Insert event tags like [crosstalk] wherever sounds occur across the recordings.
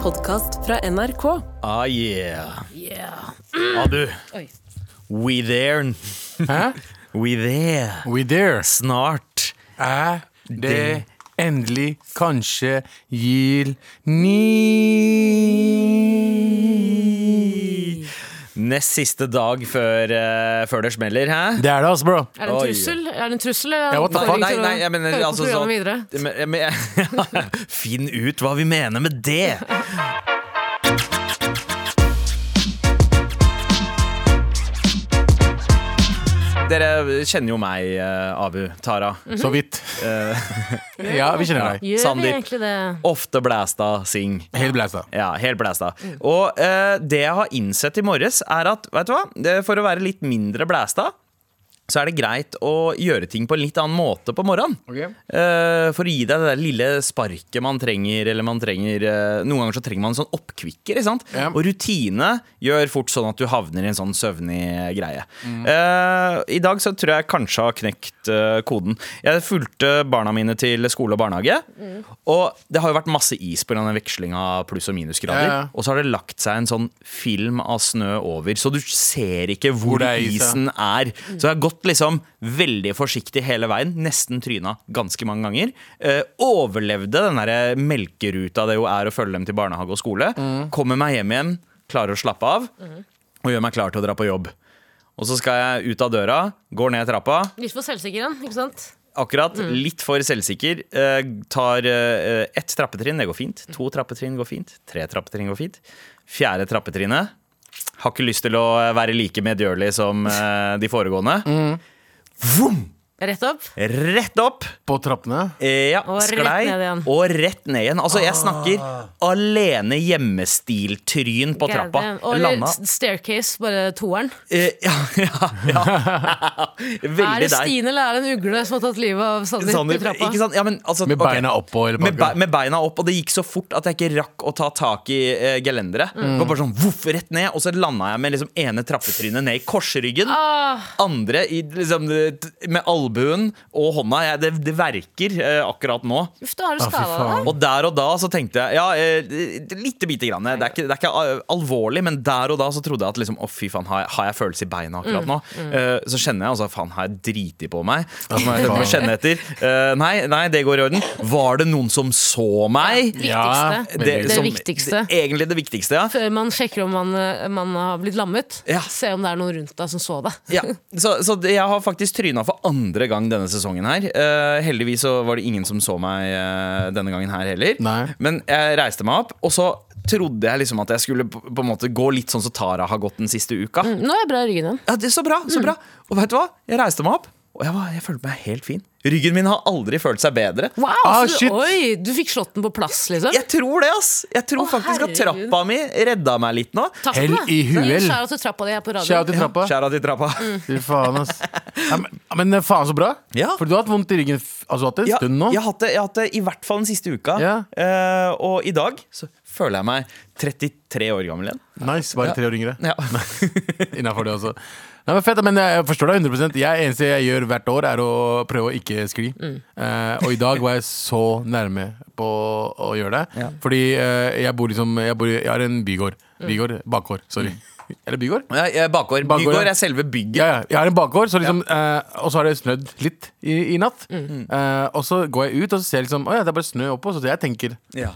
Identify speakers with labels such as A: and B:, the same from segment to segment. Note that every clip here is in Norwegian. A: podkast fra NRK.
B: Ah, yeah. Ah, du.
A: Oi.
B: We there.
C: Hæ?
B: We there.
C: We there.
B: Snart.
C: Er det endelig kanskje Gil ni
B: Nest siste dag før, eh, før det smeller, hæ?
C: Det er det, altså, bro.
D: Er det en
B: Oi.
D: trussel? Er det en trussel? eller er
C: Ja,
D: det
C: what the
D: en
B: Nei,
C: fuck?
D: oppfordring
B: nei,
D: til å
B: nei, jeg mener
D: høre på
B: altså
D: programmet
B: sånn
D: videre?
B: [laughs] men- men- [laughs] Finn ut hva vi mener med det! Dere kjenner jo meg, eh, Abu, Tara.
C: Så vidt.
B: Eh.
C: [laughs] Ja, vi kjenner deg.
D: Gjør vi
B: Sandeep.
D: egentlig det?
B: Ofte blæsta, sing.
C: Helt blæsta.
B: Ja, helt blæsta. Og eh, det jeg har innsett i morges, er at vet du hva? Det- for å være litt mindre blæsta, så er det greit å gjøre ting på en litt annen måte på morgenen.
C: Ok.
B: Eh, for å gi deg det der lille sparket man trenger, eller man trenger eh, Noen ganger så trenger man en sånn oppkvikker, ikke sant?
C: Ja.
B: Og rutine gjør fort sånn at du havner i en sånn søvnig greie.
C: Mm.
B: Eh, I dag så tror jeg kanskje har knekt eh, koden. Jeg fulgte barna mine til skole og barnehage,
C: Mm.
B: og det har jo vært masse is pga. den vekslinga av pluss- og minusgrader.
C: Ja, ja.
B: Og så har det lagt seg en sånn film av snø over, så du ser ikke hvor,
C: Hvor det er is, ja.
B: isen er. Så jeg har gått liksom veldig forsiktig hele veien, nesten tryna ganske mange ganger. Eh, overlevde den der melkeruta det jo er å følge dem til barnehage og skole.
C: Mm.
B: Kommer meg hjem igjen, klarer å slappe av, og gjør meg klar til å dra på jobb. Og så skal jeg ut av døra, går ned trappa,
D: Litt for selvsikker igjen, ikke sant?
B: Akkurat.
D: Mm.
B: Litt for selvsikker. Eh, tar eh, ett trappetrinn, det går fint.
D: Mm.
B: To trappetrinn går fint. Tre trappetrinn går fint. Fjerde trappetrinnet. Har ikke lyst til å eh, være like medgjørlig som eh, de foregående.
D: Mm.
B: Vroom!
D: Rett opp.
B: Rett opp!
C: På trappene.
B: Eh, ja,
D: Og rett
B: sklei.
D: ned igjen. Ah.
B: Og rett ned igjen. Altså, jeg snakker alene hjemmestiltryn på
D: God
B: trappa.
D: damn. Og
B: Landa
D: litt staircase, bare toeren.
B: eh, Ja, [laughs] ja,
D: [laughs]
B: ja.
D: Er
B: Veldig
D: det
B: deg.
D: Stine eller er det en ugle som har tatt livet av Sandeep i
B: Sandeep,
D: trappa?
B: ikke sant? Ja, men, altså,
C: Med
B: ok.
C: beina oppå. Eller
B: med,
C: bak.
B: be med beina opp, og det gikk så fort at jeg ikke rakk å ta tak i eh, gelenderet. Det var bare sånn voff, rett ned, og så landa jeg med liksom ene trappetrynet ned i korsryggen.
D: Ah,
B: Andre i, liksom, t- med albuen og hånda. Jeg, det, det verker eh, akkurat nå.
D: uff, da
B: Ah,
D: har du
C: fy
D: skada
C: faen.
D: deg.
B: Og der og da så tenkte jeg Ja, eh, lite bitte grann. Det er, ikke, det er ikke eh, alvorlig, men der og da så trodde jeg at liksom, å fy faen, har jeg, har jeg følelse i beina akkurat
D: Mm,
B: nå? Eh, så kjenner jeg altså faen, har jeg driti på meg? Så må jeg må jeg kjenne etter. Eh, nei, nei, det går i orden. Var det noen som så meg?
C: Ja,
D: Viktigste.
C: men-
D: Det viktigste.
B: det- egentlig det viktigste, ja.
D: Før man sjekker om man, man har blitt lammet,
B: Ja.
D: se om det er noen rundt deg som så deg.
B: ja. Så, så det- jeg har faktisk tryna for andre gang denne sesongen her. Eh, heldigvis så var det ingen som så meg eh, denne gangen her heller.
C: Nei.
B: Men jeg reiste meg opp, og så trodde jeg liksom at jeg skulle på, på en måte gå litt sånn som Tara har gått den siste uka.
D: Nå er jeg bra i ryggen igjen.
B: Ja, det er Så bra!
D: Mm.
B: så bra Og vet du hva? Jeg reiste meg opp, og jeg, var, jeg følte meg helt fin. Ryggen min har aldri følt seg bedre.
D: Wow,
C: Ah,
D: så
C: shit.
D: du, oi, du fikk slått den på plass, liksom?
B: Jeg tror det, ass! Jeg tror
D: Å,
B: faktisk at
D: herregud.
B: trappa mi redda meg litt nå.
D: Takk
C: Hell
D: for det.
C: i huel.
D: Skjær av til trappa di her på
C: Skjær
D: radioen.
C: til trappa.
B: Skjæra til trappa.
D: Mm.
C: Fy faen, ass. Ja, men, men eh, faen, så bra.
B: Ja.
C: For du har hatt vondt i ryggen f- altså, du har hatt det en
B: Ja,
C: stund nå.
B: Jeg har hatt det, jeg har hatt det i hvert fall den siste uka.
C: Ja.
B: Eh, og i dag så føler jeg meg 33 år gammel igjen.
C: Nice. Bare tre år yngre.
B: [laughs] Ja.
C: Innenfor det også. Nei, men fett, men jeg forstår deg 100 Jeg eneste jeg gjør hvert år, er å prøve å ikke skli. Eh, og i dag var jeg så nærme på å gjøre det.
B: Ja.
C: Fordi eh, jeg bor liksom Jeg, bor, i- jeg har en bygård. Bygård, Bakgård. Sorry. [laughs] Eller bygård?
B: Jeg- jeg- Bakgård.
C: Bakgård, ja.
B: Bygård er selve bygget.
C: Ja, ja. Jeg har en bakgård, så liksom, eh, og så har det snødd litt i, i natt. Eh, og så går jeg ut og så ser jeg liksom, å ja, det er bare snø oppå. Så jeg tenker
B: Ja.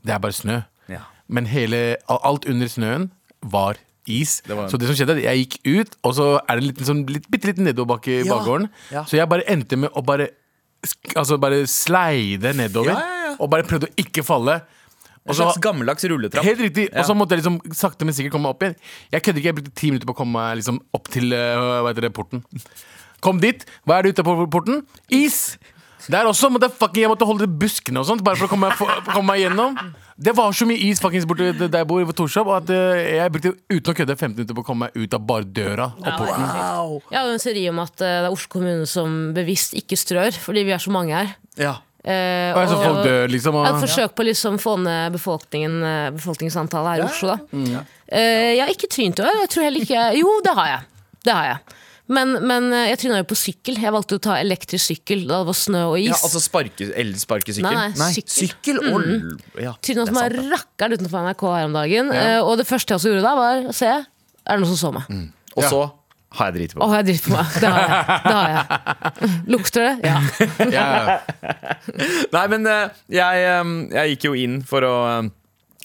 C: det er bare snø.
B: Ja.
C: Men hele, al- alt under snøen var is.
B: Det var-
C: Så det som skjedde, er at jeg gikk ut, og så er det en liten sånn, litt, bitte liten nedoverbakke i
B: Ja.
C: bakgården.
B: Ja.
C: Så jeg bare endte med å bare, sk- altså bare sleide nedover.
B: Ja, ja, ja.
C: Og bare prøvde å ikke falle.
B: En
C: Og så,
B: slags gammeldags rulletrapp.
C: helt riktig.
B: Ja.
C: Og så måtte jeg liksom sakte, men sikkert komme meg opp igjen. Jeg kødder ikke, jeg brukte ti minutter på å komme meg liksom opp til øh, hva heter det, porten. Kom dit. Hva er det ute på porten? Is! Der også måtte jeg, fucking, jeg måtte holde buskene og sånt bare for å komme meg, for, komme meg gjennom. Det var så mye is fuckings borte der jeg bor, ved Torshov, at øh, jeg brukte uten å kødde fem minutter på å komme meg ut av bare døra og porten.
B: Au.
D: Jeg har jo en teori om at eh, det er Oslo kommune som bevisst ikke strør, fordi vi er så mange her.
B: Ja.
D: Eh,
C: Og jeg så folk dør, liksom.
D: Jeg har
C: Og,
D: forsøkt på å liksom få ned befolkningen, eh, befolkningsantallet
B: Mm,
D: her i Oslo. Da. Eh, jeg har ikke trynt i år. Jeg tror heller ikke Jo, det har jeg. Det har jeg. Men, men eh, jeg tryna jo på sykkel. Jeg valgte å ta elektrisk sykkel da det var snø og is.
B: Ja, altså sparke, elsparkesykkel?
D: Nei, nei, sykkel. Mm.
B: sykkel og l- ja,
D: Tryna
B: det er
D: som
B: sant,
D: er rakkeren utenfor NRK her om dagen. Eh, og det første jeg også gjorde da, var se, er det noen som så meg?
B: det. Og så har jeg driti
D: Å,
B: på meg.
D: jeg driter på meg. Det har jeg. Det har jeg. Lukter det? Ja.
C: Ja,
B: Nei, men eh, jeg, eh, jeg gikk jo inn for å eh,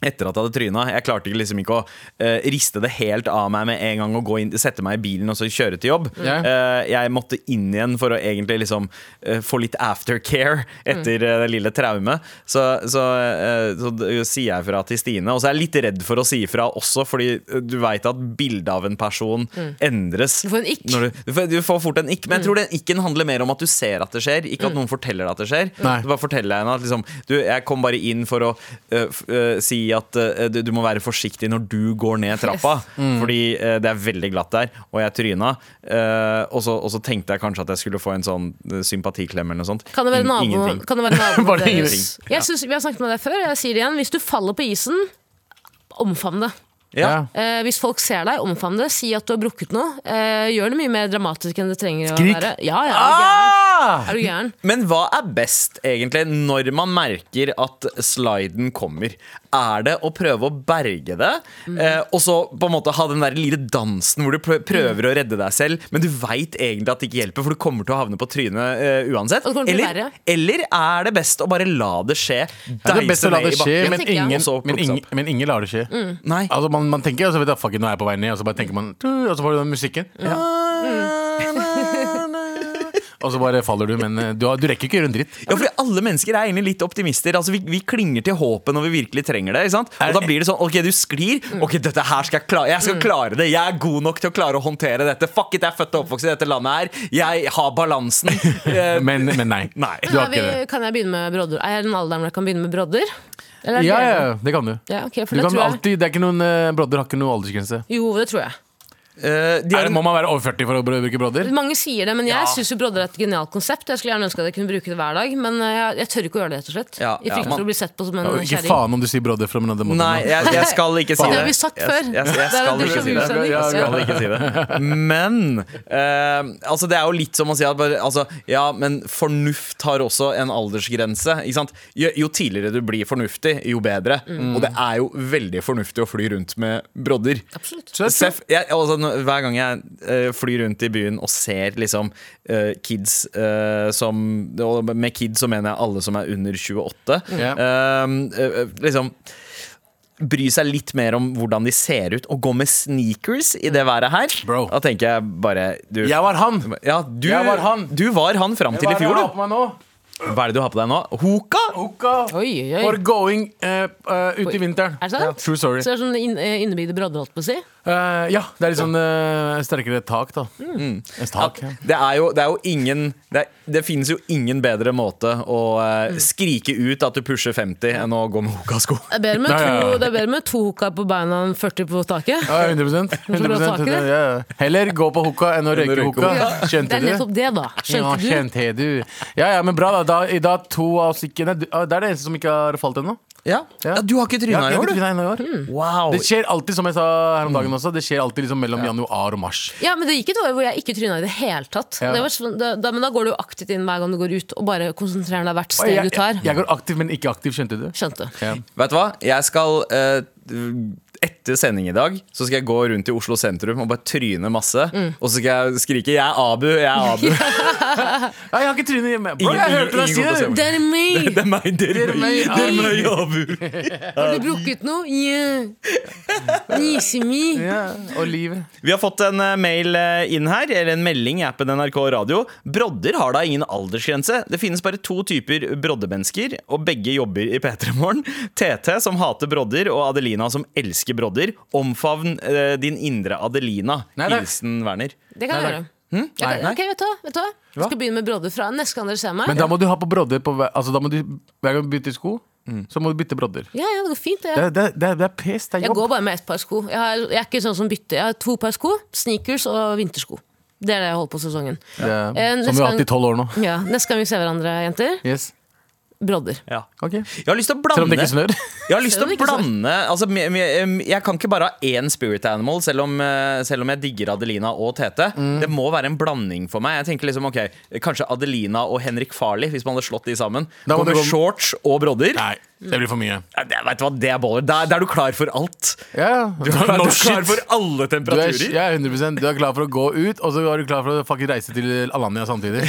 B: etter at jeg hadde tryna. Jeg klarte ikke liksom ikke å eh, riste det helt av meg med en gang og gå inn, sette meg i bilen og så kjøre til jobb.
C: Ja.
B: Eh, jeg måtte inn igjen for å egentlig liksom eh, få litt aftercare [laughs] etter eh, det lille traumet. Så, så, eh, så d- sier jeg fra til Stine, og så er jeg litt redd for å si fra også, fordi eh, du veit at bildet av en person endres.
D: Mm. Du får en ikk.
B: Når du, du, får, du får fort en ikk, men jeg tror den ikken handler mer om at du ser at det skjer, ikke
D: Mm.
B: at noen forteller deg at det skjer.
C: Nei.
B: Du bare forteller henne at liksom, du, jeg kom bare inn for å øh, f- øh, si at øh, du, du må være forsiktig når du går ned trappa,
D: Mm.
B: fordi øh, det er veldig glatt der, og jeg tryna. øh, og, så, og så tenkte jeg kanskje at jeg skulle få en sånn øh, sympatiklem eller noe sånt.
D: Kan det være
B: In-
D: naboen
B: Ingenting.
D: kan det være naboen
C: [laughs] Bare
D: deres?
B: ingenting.
D: Jeg synes, vi har snakket med deg før, jeg sier det igjen. Hvis du faller på isen, omfavn det.
B: Ja.
C: ja.
D: Eh, hvis folk ser deg, omfavn det. Si at du har brukket noe. Eh, gjør det mye mer dramatisk enn det trenger å
C: Skrik.
D: være. Ja, ja,
C: Ah!
D: er du gæren? Er du gæren?
B: Men hva er best, egentlig, når man merker at sliden kommer? Er det å prøve å berge det, eh, og så på en måte ha den der lille dansen hvor du prø- prøver å redde deg selv, men du veit egentlig at det ikke hjelper, for du kommer til å havne på trynet eh, uansett?
D: Og det kommer til å bli
B: Eller,
D: verre.
B: eller er det best å bare la det skje?
C: Ja, det er best å la
B: ned
C: det
B: i
C: skje,
B: bakken,
C: men
D: Det tenker jeg.
C: ingen,
B: og så
C: men
B: plukkes
C: ingen,
B: opp?
C: men ingen lar det skje.
D: Mm.
B: Nei.
C: Altså man, man tenker, og så vet jeg, fuck it, nå er jeg på vei ned, og så bare tenker man, «Tu», og så får du den musikken.
B: Mm.
C: Og så bare faller du, men eh, du, har- du rekker ikke å gjøre en dritt.
B: Ja, fordi alle mennesker er egentlig litt optimister. Altså, vi, vi klinger til håpet når vi virkelig trenger det. Ikke sant? Og da blir det Mm. sånn OK, du sklir. OK, dette her skal jeg klare. Jeg skal klare det. Jeg er god nok til å klare å håndtere dette. Fuck it, jeg er født og oppvokst i dette landet her. Jeg har [laughs] balansen. Eh,
C: Men, men nei.
B: Nei.
C: [laughs] Du har
D: Er vi,
C: ikke det.
D: kan jeg begynne med brodder? Er jeg i den alderen hvor jeg kan begynne med brodder? Eller er det
C: Ja,
D: det?
C: ja, ja, det kan du.
D: ja ok, for
C: Du
D: det
C: kan
D: tror jeg.
C: alltid, det er ikke noen eh, Brodder har ikke noen aldersgrense.
D: Jo, det tror jeg.
B: eh, de
C: Er
B: har
C: det,
B: en,
C: må man være over 40 for å br- bruke Brodder?
D: Mange sier det, men jeg
B: Ja.
D: synes syns brodder er et genialt konsept. Jeg skulle gjerne ønske at jeg kunne bruke det hver dag, men eh, jeg, jeg tør ikke å gjøre det, rett og slett.
B: Ja,
D: I
B: ja,
D: frykt
B: man-
D: for å bli sett på som en
C: Og Ikke
D: kjerring.
C: faen om du sier Brodder fra en annen måte.
B: nei, jeg, jeg skal ikke si
D: Det
B: det.
D: har vi sagt
B: Jeg-
D: før.
B: Jeg, jeg,
D: Det er en
B: skal
D: déjà
B: ikke si det.
D: vu-sending.
C: Ja, ja,
B: Jeg skal ikke si det. [laughs] Men eh, altså det er jo litt som å si at bare, altså, Ja, men fornuft har også en aldersgrense. Ikke sant? Jo, jo tidligere du blir fornuftig, jo bedre. Og det er jo veldig fornuftig å fly rundt med brodder.
D: Absolutt.
B: Seff, jeg, altså, nå- hver gang jeg eh, flyr rundt i byen og ser liksom, eh, kids eh, som og Med kids så mener jeg alle som er under 28.
C: Mm. Ja.
B: eh, eh, liksom Bry seg litt mer om hvordan de ser ut, og gå med sneakers i det været her.
C: Bro.
B: Da tenker jeg bare du,
C: Jeg var han!
B: ja, du,
C: jeg var han.
B: du var han fram til i fjor, du.
C: meg nå?
B: Hva er det du har på deg nå? Hoka?
C: Hoka
D: Oi, oi, oi.
C: for going eh, eh, ut i vinteren.
D: Er det sant?
C: True story.
D: Så det er sånn inn- eh, innebygde brodder, holdt på å si.
C: Eh, ja, det er litt sånn eh, sterkere tak, da. Et tak, ja.
B: Det er jo, det er jo ingen det, er, det finnes jo ingen bedre måte å eh, skrike ut at du pusher 50, enn å gå med hokasko.
D: Det er bedre med
C: Ja, ja, ja.
D: to, det er bedre med to hooker på beina enn 40 på taket.
C: Ja, 100, 100%,
D: taket, det.
C: ja, ja. Heller gå på hoka enn å røyke
B: røyke
C: hoka.
D: hoka. Det
C: Skjønte
D: er
C: du?
D: nettopp det, da.
C: Ja,
D: Skjønte du?
C: skjønte du? Ja, ja, men bra, da. da I dag to av oss ikke Nei, du- ah, det er det eneste som ikke har falt ennå.
B: Ja.
C: Ja.
B: Du har ikke
C: Ja,
B: tryna i
C: jeg
B: år,
C: har ikke
B: du? Mm.
C: trynet i år.
B: Wow.
C: Det skjer alltid, som jeg sa her om dagen også, det skjer alltid liksom mellom januar og mars.
D: Ja, men det gikk et år hvor jeg ikke tryna i det hele tatt.
C: Ja.
D: Det var sånn, da, da, men da går du jo aktivt inn hver gang du går ut, og bare konsentrerer deg hvert
C: Oi,
D: steg
C: jeg,
D: du tar.
C: jeg, jeg går aktiv, men ikke aktiv, skjønte du?
D: Skjønte.
C: Ja.
B: Vet du hva? Jeg skal eh, Etter sending i dag Så skal jeg gå rundt i Oslo sentrum og bare tryne masse. Og så skal jeg skrike 'Jeg er Abu', 'Jeg er [laughs] Abu'.
C: Ja, jeg har ikke trynet hjemme. Bro,
B: Ingen-
C: jeg
B: ingen-
C: hørte deg
B: ingen
C: si
B: kommer til å se
C: det!
B: meg.
D: Det er meg!
B: Det er meg, dere.
C: Dere meg,
B: Dere meg, Abu.
D: Har du brukket noe? Yeah. Nisemi.
C: Ja, og livet.
B: Vi har fått en eh, mail eh, inn her, eller en melding i appen NRK Radio. Brodder har da ingen aldersgrense. Det finnes bare to typer broddemennesker, og begge jobber i P3 Morgen. TT, som hater brodder, og Adelina, som elsker brodder. Omfavn eh, din indre Adelina.
C: Nei, det-
B: Hilsen Werner.
D: Det kan jeg
C: Nei,
D: gjøre.
C: nei.
D: Hm? Jeg kan,
C: Nei, nei.
D: ok, vet du hva? Vet du hva? Jeg skal begynne med brodder fra neste gang dere ser meg.
C: Men da må du ha på brodder på hver Altså, da må du hver gang du bytter sko, så må du bytte brodder.
D: Ja, ja, det går fint.
C: Mm. Det,
D: Det.
C: er- det, er- det, er- det er pes, det er
D: Jeg
C: jobb.
D: går bare med ett par sko. Jeg, har, jeg er ikke sånn som bytter. Jeg har to par sko, sneakers og vintersko. Det er det jeg holder på sesongen.
C: Det
D: Eh,
C: er- Som vi
D: neste
C: har hatt i
D: gang-
C: tolv år nå.
D: Ja, Neste gang vi ser hverandre, jenter,
C: Yes.
D: brodder.
B: Ja.
C: Ok.
B: Jeg har lyst til å
C: Selv om det
B: blande
C: ikke snør.
B: Jeg har lyst til
D: Selv om
B: å
D: det ikke
B: blande altså, me- me- Jeg kan ikke bare ha én spirit animal, selv om, eh, selv om jeg digger Adelina og Tete.
C: Mm.
B: Det må være en blanding for meg. Jeg tenker liksom, ok, Kanskje Adelina og Henrik Farley, hvis man hadde slått de sammen.
C: Da må
B: Går
C: du
B: med
C: gå-
B: shorts og brodder.
C: [laughs] Nei, det blir for mye.
B: Ja, Det, vet du hva, det er baller. Da da er du klar for alt.
C: Ja, ja.
B: Du er, du
C: No
B: er klar
C: shit.
B: for alle
C: Du er,
B: temperaturer.
C: ja, 100 Du er klar for å gå ut, og så er du klar for å fucking reise til Alanya samtidig.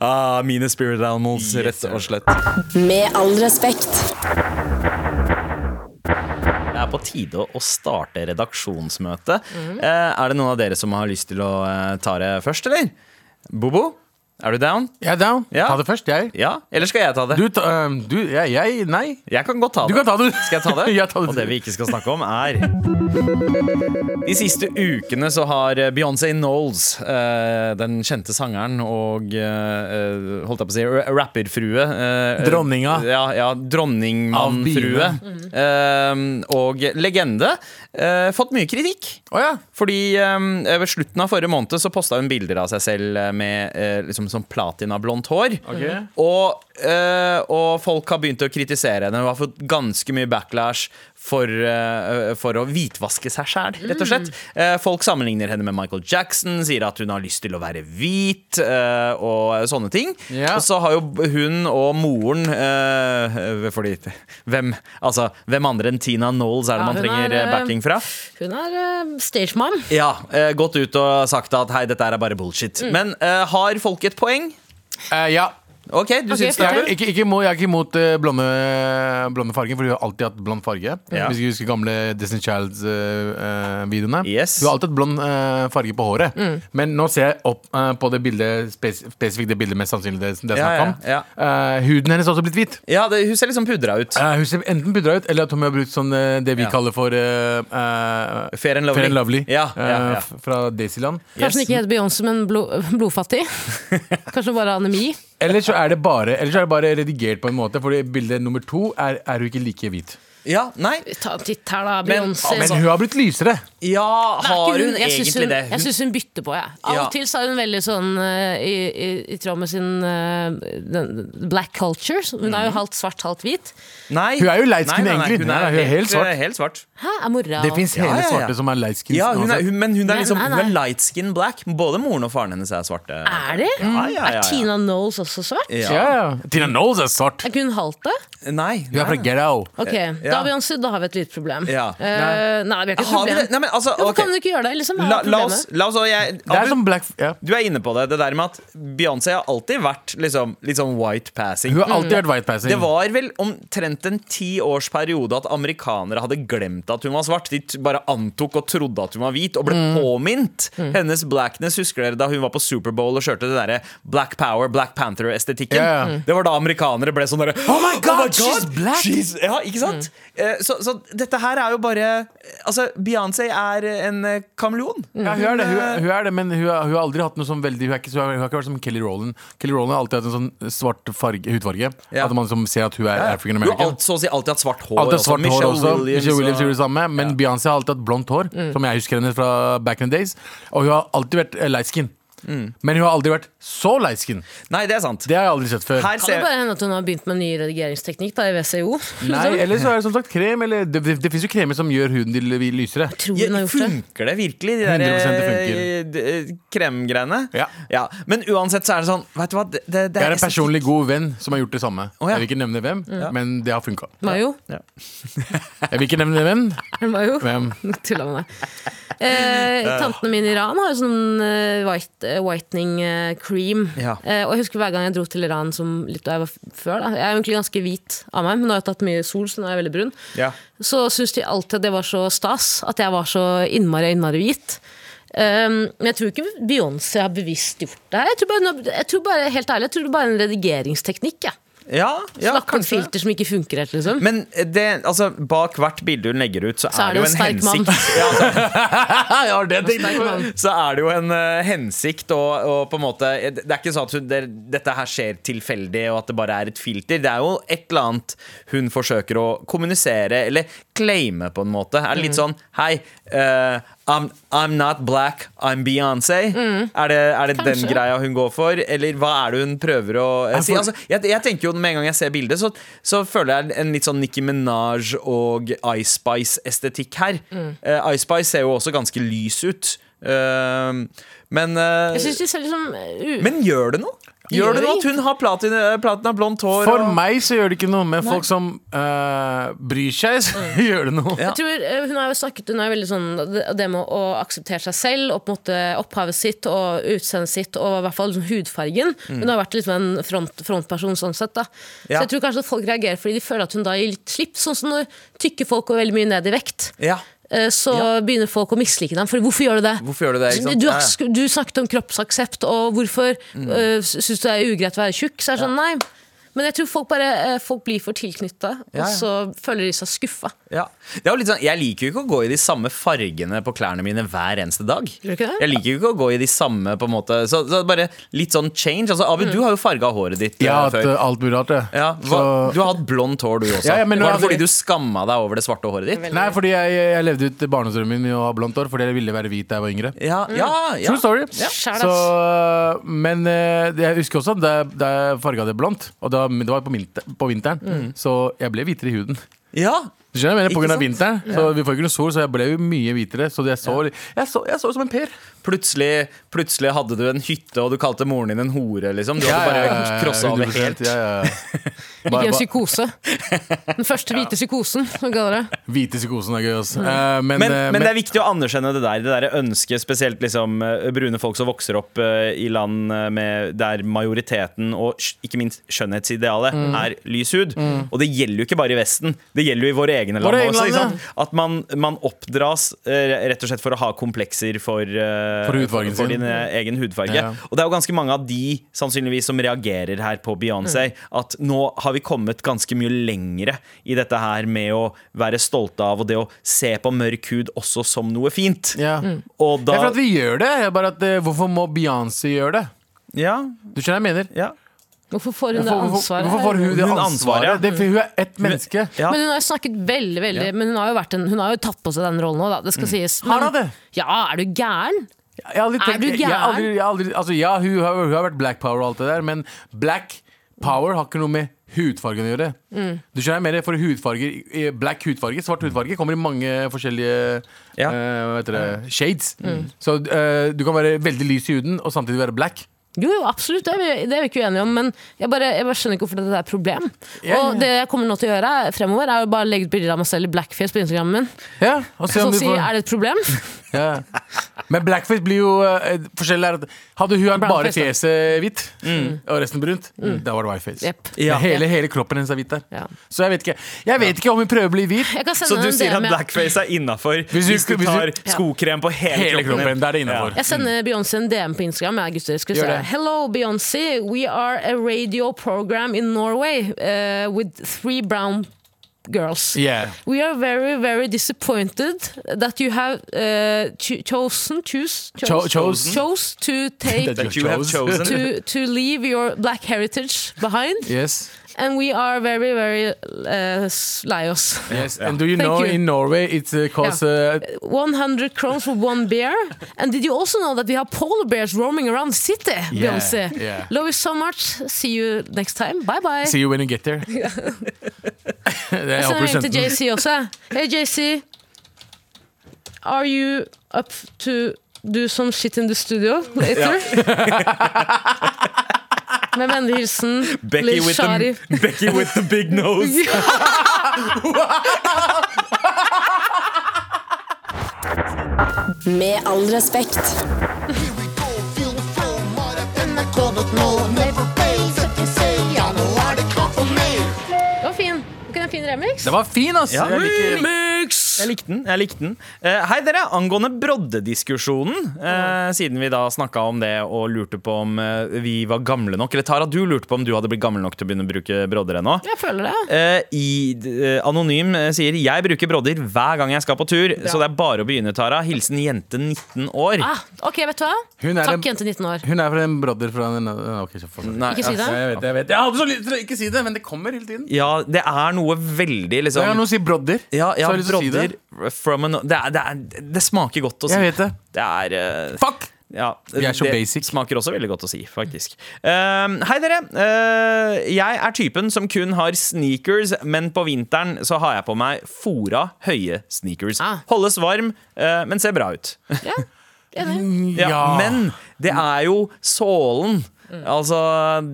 B: Ah, mine spirit animals, rett og slett.
A: Med all respekt.
B: Det er på tide å starte redaksjonsmøte. Eh, er det noen av dere som har lyst til å eh, ta det først, eller? Bobo, er du down?
C: [laughs] Jeg er down.
B: Ja.
C: Ta det først, jeg.
B: Ja, eller skal jeg ta det?
C: Du, ta, øhm, du jeg, jeg Nei.
B: Jeg kan godt ta det.
C: Du kan ta det.
B: Skal jeg ta det?
C: [laughs] Ja, ta det.
B: Og det vi ikke skal snakke om, er De siste ukene så har Beyoncé Knowles, eh, den kjente sangeren og eh, holdt jeg på å si ra- rapperfrue eh,
C: Dronninga.
B: Ja, ja dronningmannfrue.
C: Av
B: eh, og legende. eh, fått mye kritikk.
C: Å ja.
B: Fordi ehm, Ved slutten av forrige måned så posta hun bilder av seg selv eh, med eh, liksom sånn platinablondt hår.
C: Ok.
B: Og, eh, og folk har begynt å kritisere henne. Hun har fått ganske mye backlash for, eh, for å hvitvaske seg sjæl, rett og slett.
D: Mm.
B: Eh, folk sammenligner henne med Michael Jackson, sier at hun har lyst til å være hvit eh, og sånne ting.
C: Ja.
B: Og så har jo hun og moren eh, Fordi hvem, altså, hvem andre enn Tina Knowles er det
D: Ja,
B: man
D: hun er,
B: trenger eh,
D: eh,
B: backing fra?
D: Hun er eh, stage mom.
B: Ja, eh, gått ut og sagt at hei, dette her er bare bullshit.
D: Mm.
B: Men eh, har folk et poeng?
C: Eh, ja.
B: Ok, du
D: Ok,
B: syns det?
D: fortell.
C: Jeg, ikke, ikke, må, jeg er ikke imot eh, blonde, blonde fargen, for hun har alltid hatt blond farge.
B: Ja.
C: Hvis du husker gamle Disney eh, Childs-videoene.
B: Yes.
C: Hun har alltid hatt blond eh, farge på håret. Men nå ser jeg opp eh, på det bildet spes spesifikt det bildet mest sannsynlig det, det er
B: Ja,
C: snakk om.
B: ja,
C: Eh, huden hennes har også blitt hvit.
B: Ja, det, hun ser liksom pudra ut.
C: Eh, hun ser enten pudra ut, eller at hun har brukt sånn, eh, det vi
B: Ja.
C: kaller for eh, eh,
B: Fair and lovely.
C: Fair and lovely
B: Ja, ja,
C: eh,
B: ja.
C: f- fra Daisyland.
B: Yes.
D: Kanskje hun ikke heter Beyoncé, men blo
C: [laughs]
D: blodfattig. Kanskje hun bare har anemi.
C: Eller så er det bare Eller så er det bare redigert på en måte, Fordi bilde nummer to er, er hun ikke like hvit.
B: Ja, nei
D: Ta en titt her, da.
B: Men-
D: Beyoncé.
C: Men
B: Altså-
C: hun har blitt lysere.
B: Ja,
D: Nei, ikke
B: har hun
D: jeg syns
B: egentlig
D: hun,
B: det?
D: Jeg
B: Hun,
D: syns hun bytter på, jeg. Av
B: Ja.
D: og til så er hun veldig sånn eh, i, i, i tråd med sin eh, den, black culture. så Hun
B: Mhm.
D: er jo halvt svart, halvt hvit.
B: nei.
C: Hun er jo light
B: Nei,
C: skin
B: nei, nei,
C: egentlig.
B: Hun
C: Nei,
B: er,
C: nei, hun er helt svart.
B: eh, helt svart.
D: Hæ, er mora
C: Det fins
B: Ja,
C: hele
B: ja, ja.
C: svarte som er light skin.
B: Ja, hun er,
C: uansett.
B: hun, men hun er
D: Nei,
B: liksom
D: nei,
B: Hun
D: nei.
B: er
D: Ah.
B: light skin black. Både moren og faren hennes er svarte.
D: Er det?
B: Ja, ja, ja, ja.
D: Er Tina Knowles også svart?
C: ja. Ja,
B: Ja.
C: Tina Knowles er svart.
D: Er ikke hun halvt det?
B: Nei.
C: Hun er fra
B: nei.
C: Ghetto.
D: Ok, da, Beyoncé, da har vi et lite problem.
B: Eh, Ja.
D: Eh, nei, vi har ikke et
B: Har vi
D: problem.
B: det? Nei, men altså,
D: Hvorfor
B: ok.
D: kan du ikke gjøre det? Liksom, hva er
B: La, la
D: problemet?
B: oss, la oss og jeg,
C: Det er
B: Abu,
C: som black ja.
B: Du er inne på det. Det der med at Beyoncé har alltid vært liksom, litt sånn white passing.
C: Hun har alltid vært
B: Mm.
C: white
B: Det
C: passing.
B: var vel omtrent en tiårsperiode at amerikanere hadde glemt at hun var svart. De t- bare antok og trodde at hun var hvit, og ble
C: Mm.
B: påminnet. Hennes blackness husker dere da hun var på Superbowl og kjørte det derre Black Power, Black Panther-estetikken.
C: Ja, ja. Mm.
B: Det var da amerikanere ble sånn derre Oh my
C: God, she's black!" Mm.
B: she's-" Ja, ikke sant? Eh, Så, så dette her er jo bare Altså, Beyoncé er en eh, kameleon.
C: Mm. Ja, hun er det, hun, er- hun er det men hun, har- hun har aldri hatt noe sånn veldig Hun, er ikke, så- hun har ikke vært som Kelly Rowland. Kelly Rowland har alltid hatt en sånn svart farge, hudfarge.
B: Ja.
C: At man liksom ser at hun er African
B: Hun har
C: American.
B: alt, så å si alltid hatt svart hår.
C: Alt er svart hår også.
B: Williams
C: Michelle Williams
B: og- Mm.
C: gjorde det samme. Men Beyoncé har alltid hatt blondt hår, som jeg husker henne fra back in the days. Og hun har alltid vært eh, light skin.
B: Mm.
C: Men hun har aldri vært så light skin.
B: Nei, det er sant.
C: Det har jeg aldri sett før.
D: Kan
B: Her ser
D: det bare hende at hun har begynt med en ny redigeringsteknikk da, i WCO? [laughs]
C: Nei, eller så er det som sagt krem. Eller, det det, det fins jo kremer som gjør huden til lysere.
D: Tror
B: Ja,
D: hun har gjort det?
B: funker det virkelig, de
C: 100% det
B: der
C: funker.
B: d- eh, kremgreiene?
C: Ja.
B: Men uansett så er det sånn Vet du hva, det, det, det
C: Jeg
B: er
C: er en personlig god venn som har gjort det samme.
B: Å, ja.
C: Jeg vil ikke nevne hvem, men det har funka.
D: Mayo?
C: Jeg vil ikke nevne hvem.
D: Er det Mayo?
C: hvem.
D: [laughs] Tulla med deg. Eh, tantene mine i Iran har jo sånn eh, white, eh, whitening eh, cream.
B: Ja.
D: Eh, og jeg husker hver gang jeg dro til Iran som litt da jeg var f- før. Da. Jeg er jo egentlig ganske hvit av meg, men nå har jeg tatt mye sol, så nå er jeg veldig brun.
B: Ja.
D: Så syns de alltid at det var så stas at jeg var så innmari, innmari hvit. Um, men jeg tror ikke Beyoncé har bevisst gjort det her. Jeg tror bare, jeg tror bare helt ærlig, jeg tror det bare er en redigeringsteknikk. Ja.
B: Ja, ja
D: Snakk om
B: kanskje.
D: filter som ikke funker helt, liksom.
B: Men det, altså, bak hvert bilde hun legger ut, så,
D: så
B: er det jo en
D: sterk mann.
B: hensikt. [laughs] Ja,
C: [laughs]
B: altså,
C: Jeg har det tenkt
D: Sterk
C: på.
D: mann.
B: så er det jo en eh, hensikt og, og på en måte Det er ikke sånn at hun, det, dette her skjer tilfeldig og at det bare er et filter. Det er jo et eller annet hun forsøker å kommunisere eller claime, på en måte. Er det litt sånn Hei, eh, I'm, I'm not black, I'm Beyoncé. Er det, er det den
D: Kanskje.
B: greia hun går for, eller hva er det hun prøver å eh, si?
C: for-
B: Altså, jeg, jeg tenker jo Med en gang jeg ser bildet, så, så føler jeg en litt sånn Nicki Minaj og Ice Spice-estetikk her. Eh, Ice Spice ser jo også ganske lys ut. Eh, men, eh,
D: Jeg syns de ser liksom eh, u...
B: men gjør det noe? Gjør
D: Gjør
B: det noe at
D: det
B: hun har platina, platina blondt hår?
C: For
B: og-
C: meg så gjør det ikke noe, men folk som eh, bryr seg, så [laughs] gjør det noe.
B: Mm. Ja.
D: Jeg tror eh, Hun har jo snakket Hun er jo veldig sånn det- det med å akseptere seg selv og på en måte opphavet sitt og utseendet sitt og i hvert fall liksom hudfargen. Hun har vært liksom en front, frontperson sånn sett. da
B: Mm. Ja.
D: Så jeg tror kanskje at folk reagerer fordi de føler at hun da gir litt slipp. Sånn som når tykke folk går veldig mye ned i vekt.
B: Ja.
D: eh, Så
B: Ja.
D: begynner folk å mislike dem. For hvorfor gjør du det?
B: Hvorfor gjør du det? Ikke sant?
D: Du,
B: Ja, ja.
D: har- du snakket om kroppsaksept, og hvorfor mm. syns du det er ugreit å være tjukk? Så er det sånn, nei. Men jeg tror folk bare eh, folk blir for tilknytta,
B: Ja, ja.
D: og så føler de seg skuffa.
B: Ja. Det er jo litt sånn, jeg liker jo ikke å gå i de samme fargene på klærne mine hver eneste dag.
D: du ikke det?
B: Jeg liker jo ikke å gå i de samme på en måte Så, så bare litt sånn change. Altså, Abid,
D: Mm.
B: du har jo farga håret ditt
C: Jeg
B: eh,
C: har hatt eh, alt mulig rart, jeg.
B: Ja, hva,
C: Så-
B: du har hatt blondt hår, du også.
C: Ja, ja, men altså- nå
B: Var det
C: hadde
B: fordi
C: jeg-
B: du skamma deg over det svarte håret ditt?
C: Nei, fordi jeg, jeg levde ut barndomsdrømmen min i å ha blondt hår fordi jeg ville være hvit da jeg var yngre.
B: Ja,
D: Mm.
B: ja, ja.
C: True story.
D: Skjæl,
C: Så, men eh, jeg husker også da, jeg- da jeg farga det blondt, og da, men det var på, vinter, på vinteren, så jeg ble hvitere i huden.
B: ja.
C: Du skjønner, hva jeg mener, på
B: Ikke
C: grunn av
B: sant?
C: vinteren. Så vi får ikke noe sol, så jeg ble jo mye hvitere. Så jeg så, jeg så, jeg så ut som en per.
B: Plutselig, plutselig hadde du en hytte, og du kalte moren din en hore, liksom. Du
C: Ja,
B: hadde
C: ja,
B: bare
C: ja, ja,
B: krossa over
C: 100%,
B: helt.
C: Ja, ja. [laughs]
D: Ikke
C: Bare,
D: en
C: bare,
D: psykose. Den første
C: [laughs]
D: hvite psykosen, som vi kaller det.
C: hvite psykosen er gøy, altså. Eh, men,
B: Men,
C: eh,
B: men, det er viktig å anerkjenne det der, det der ønsket, spesielt liksom, eh, brune folk som vokser opp eh, i land eh, med, der majoriteten, og sj- ikke minst skjønnhetsidealet,
C: Mm.
B: er lys hud. Og det gjelder jo ikke bare i Vesten, det gjelder jo i våre egne land
C: Våre egne
B: også. Ikke
C: land,
B: sant? At man, man oppdras eh, rett og slett for å ha komplekser for, eh,
C: For hudfargen
B: for
C: sin.
B: din eh, egen hudfarge.
C: Ja.
B: Og det er jo ganske mange av de sannsynligvis som reagerer her på Beyoncé.
C: Mm.
B: At nå har vi kommet ganske mye lengre i dette her med å være stolte av og det å se på mørk hud også som noe fint.
C: ja.
B: Og
C: Mm. Det er
B: da
C: for at vi gjør det. det er Bare at, eh, hvorfor må Beyoncé gjøre det?
B: Ja,
C: Du skjønner hva jeg mener?
B: ja.
D: Hvorfor får hun det
C: Hvorfor, hvorfor,
D: ansvaret?
C: hvorfor får hun det
B: Hun ansvaret, ja.
C: ansvaret? Det, er fordi hun er ett menneske.
B: ja.
D: Men hun har jo snakket veldig, veldig Men hun har jo, vært en, hun har jo tatt på seg den rollen nå, da. Det skal sies.
C: Mm. Har hun
D: Men-
C: det?
D: Ja, er du gæren?
C: Jeg har aldri
D: Er
C: tenkt,
D: du
C: jeg- Jeg, har
D: gæren?
C: aldri, jeg har aldri, altså, ja, hun har, hun har vært black power og alt det der, men black power har ikke noe med hudfargen å gjøre.
D: Mm.
C: Du skjønner mer for hudfarger eh, Black hudfarge, svart hudfarge, kommer i mange forskjellige
B: Ja.
C: eh, hva heter
D: Mm.
C: det, shades. Så eh, du kan være veldig lys i huden og samtidig være black.
D: Jo, jo, absolutt, det er, vi, det er vi ikke uenige om, men jeg bare, jeg bare skjønner ikke hvorfor dette er et problem.
C: Ja, ja.
D: Og det jeg kommer nå til å gjøre er- fremover, er å bare legge ut bilder av meg selv i blackface på Instagrammen min.
C: Ja, og se
D: Så
C: om du
D: si,
C: får-
D: er det et problem?
C: Ja. Men blackface blir jo eh, Forskjellen er at hadde hun hatt bare
D: Brownface, da.
C: fjeset hvitt
D: Mm.
C: og resten brunt, da var det whiteface.
D: Jepp.
B: Ja.
C: Hele, hele kroppen hennes er hvit der.
D: Mm. Ja.
C: Så jeg vet ikke Jeg vet ikke om hun prøver å bli
D: [laughs]
C: hvit. [laughs]
D: Jeg kan sende
B: Så du
D: henne en
B: sier at
D: DM, jeg.
B: blackface er innafor hvis,
C: du-
B: du
C: hvis du-
B: tar skokrem på hele,
C: Hele kroppen. Da er det
B: Ja.
C: innafor.
D: Jeg sender Beyoncé en DM på Instagram. Jeg, gutter, skal vi
C: Gjør
D: se.
C: det.
D: Hello, Beyoncé. We are a radio program in Norway eh, with three brown girls.
C: Yeah.
D: We are very, very disappointed that you have eh, cho chosen choose,
C: Cho- chosen.
D: chose to take
C: [laughs]
B: That you have chosen.
D: to, to leave your black heritage behind,
C: Yes.
D: and we are very, very uh, lei oss.
C: yes.
B: Ja.
C: And do you
D: Thank
C: know
D: you.
C: in Norway it's uh, cause uh,
D: 100 kroner for one beer. And did you also know that we have polar bears roaming around the city, Beyoncé?
C: yeah.
D: Love you so much. See you next time. Bye bye.
C: See you when you
D: [laughs]
C: get there. [laughs] Det- jeg
D: Send
C: håper
D: en
C: du
D: melding
C: sendte
D: til
C: den.
D: JC også. Hey JC, are you up to do some shit in the studio later? Med vennlig hilsen
B: Becky
D: Lill
B: with,
D: Shari.
B: the, Becky with the
C: [laughs]
B: big nose.
A: Med all respekt.
D: Det var fin. Var ikke det en fin remix?
C: Det var fin, ass!
B: Ja.
C: Jeg liker-
B: Jeg likte den. jeg likte den Eh, Hei, dere. Angående broddediskusjonen, eh, siden vi da snakka om det og lurte på om eh, vi var gamle nok Eller Tara, du lurte på om du hadde blitt gammel nok til å begynne å bruke brodder ennå.
D: Jeg føler det.
B: Eh, i, eh, anonym eh, sier Jeg bruker brodder hver gang jeg skal på tur, så det er bare å begynne, Tara. Hilsen jente 19 år.
D: Ah, ok, vet du hva?
C: Hun er
D: Takk,
C: en-
D: jente 19 år.
C: Hun er fra en brother fra en, Ok, så fuck.
B: Nei,
D: Ikke si det.
B: ass.
C: altså, Jeg vet, jeg vet. Jeg hadde så lyst til å ikke si det, men det kommer hele tiden.
B: Ja, det er noe veldig
C: Jeg
B: liksom
C: har noe å si brother.
B: ja, ja,
C: så har jeg lyst til å si
B: brodder,
C: det.
B: heter From an, det, er, det, er, det smaker godt å si.
C: Jeg vet det.
B: Det er eh,
C: Fuck!
B: ja,
C: Vi er så
B: det
C: basic.
B: smaker også veldig godt å si, faktisk. Ehm, hei, dere. Eh, jeg er typen som kun har sneakers, men på vinteren så har jeg på meg fora høye sneakers.
D: Ah.
B: Holdes varm, eh, men ser bra
C: [laughs]
B: ut.
D: Ja, enig.
B: Ja, Men det er jo sålen. Altså,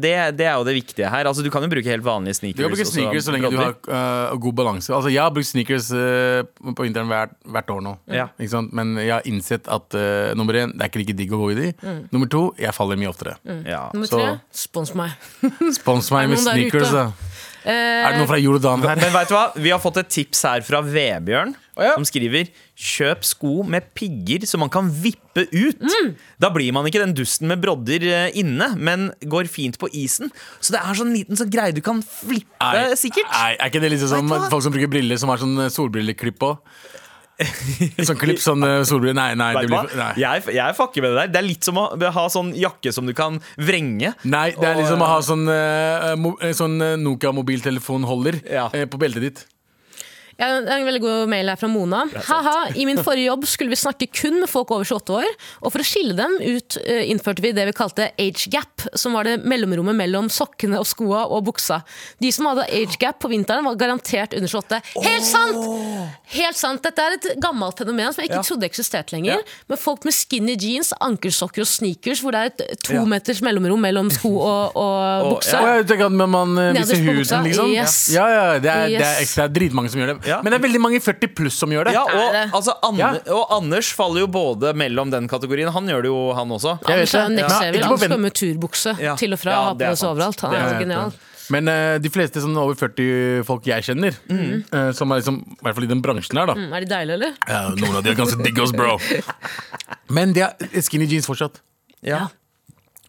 B: det, det er jo det viktige her. Altså, du kan jo bruke helt vanlige sneakers.
C: Du kan bruke
B: og
C: sneakers så lenge du har
B: brodder.
C: øh, god balanse. Altså, jeg har brukt sneakers øh, på vinteren hvert, hvert år nå.
B: Ja.
C: Ikke sant? Men jeg har innsett at øh, nummer én, det er ikke like digg å gå i de.
B: Mm.
C: Nummer to, jeg faller mye oftere.
B: ja.
D: Nummer
C: Så-
D: tre, spons meg.
C: Spons meg
D: Er det
C: med
D: noen der
C: sneakers,
D: ute?
C: da. [laughs] Er det noen
B: Eh,
C: fra Jordan her?
B: Men vet du hva? Vi har fått et tips her fra Vebjørn,
C: ja.
B: som skriver Kjøp sko med pigger som man kan vippe ut. Da blir man ikke den dusten med brodder eh, inne, men går fint på isen. Så det er sånn liten sånn greie du kan flippe, eh,
C: Nei,
B: sikkert.
C: Nei, er ikke det liksom som
B: Vet du hva?
C: folk som bruker briller som har sånn øh,
B: [laughs]
C: solbrilleklipp på? Sånn klipp, sånn øh, solbriller Nei, nei.
B: Vet
C: Det
B: du hva?
C: blir, for- nei.
B: Jeg, jeg fucker med det der. Det er litt som å ha sånn jakke som du kan vrenge.
C: Nei, det er
B: Og,
C: liksom å
B: eh,
C: ha sånn, øh, mo- øh, sånn øh, Nokia-mobiltelefonholder
B: Ja.
C: øh, på beltet ditt.
D: Ja, det er en veldig god mail her fra Mona. Haha, I min forrige jobb skulle vi snakke kun med folk over 28 år. Og for å skille dem ut eh, innførte vi det vi kalte age gap, som var det mellomrommet mellom sokkene og skoa og buksa. De som hadde age gap på vinteren, var garantert under 28. Helt sant! Helt sant! Dette er et gammelt fenomen som jeg ikke
B: Ja.
D: trodde eksisterte lenger.
B: Ja.
D: Men folk med skinny jeans, ankelsokker og sneakers, hvor det er et to meters mellomrom mellom sko og, og
B: Og-
D: bukse.
B: Ja.
C: Å, jeg tenker at man, man eh,
D: Nederst
C: viser
D: på
C: huden,
D: buksa,
C: liksom.
D: yes.
C: Ja, ja, det er, det, er,
D: Yes.
C: det er dritmange som gjør det.
B: Ja.
C: Men det er veldig mange i 40 pluss som gjør det.
B: Ja, og,
D: Er det?
B: altså, Anne,
C: Ja.
B: og Anders faller jo både mellom den kategorien. Han gjør det jo, han også.
C: Jeg
D: Anders
C: vet
D: er
C: det.
D: next
C: Ja,
D: level.
C: ikke på
D: Anders
C: ven-
D: går med turbukse
B: Ja.
D: til og fra.
B: Ja,
D: Ja,
B: det er
D: på seg
B: sant.
D: overalt. Han
B: Det
D: er
B: er
D: så genial.
C: Men eh, de fleste sånn over 40 folk jeg kjenner, eh, som er liksom, i hvert fall i den bransjen her, da
D: Mm, Er de deilige, eller?
C: Ja, Noen av de er ganske digg oss, bro. [laughs] Men de er eh, skinny jeans fortsatt.
B: Ja.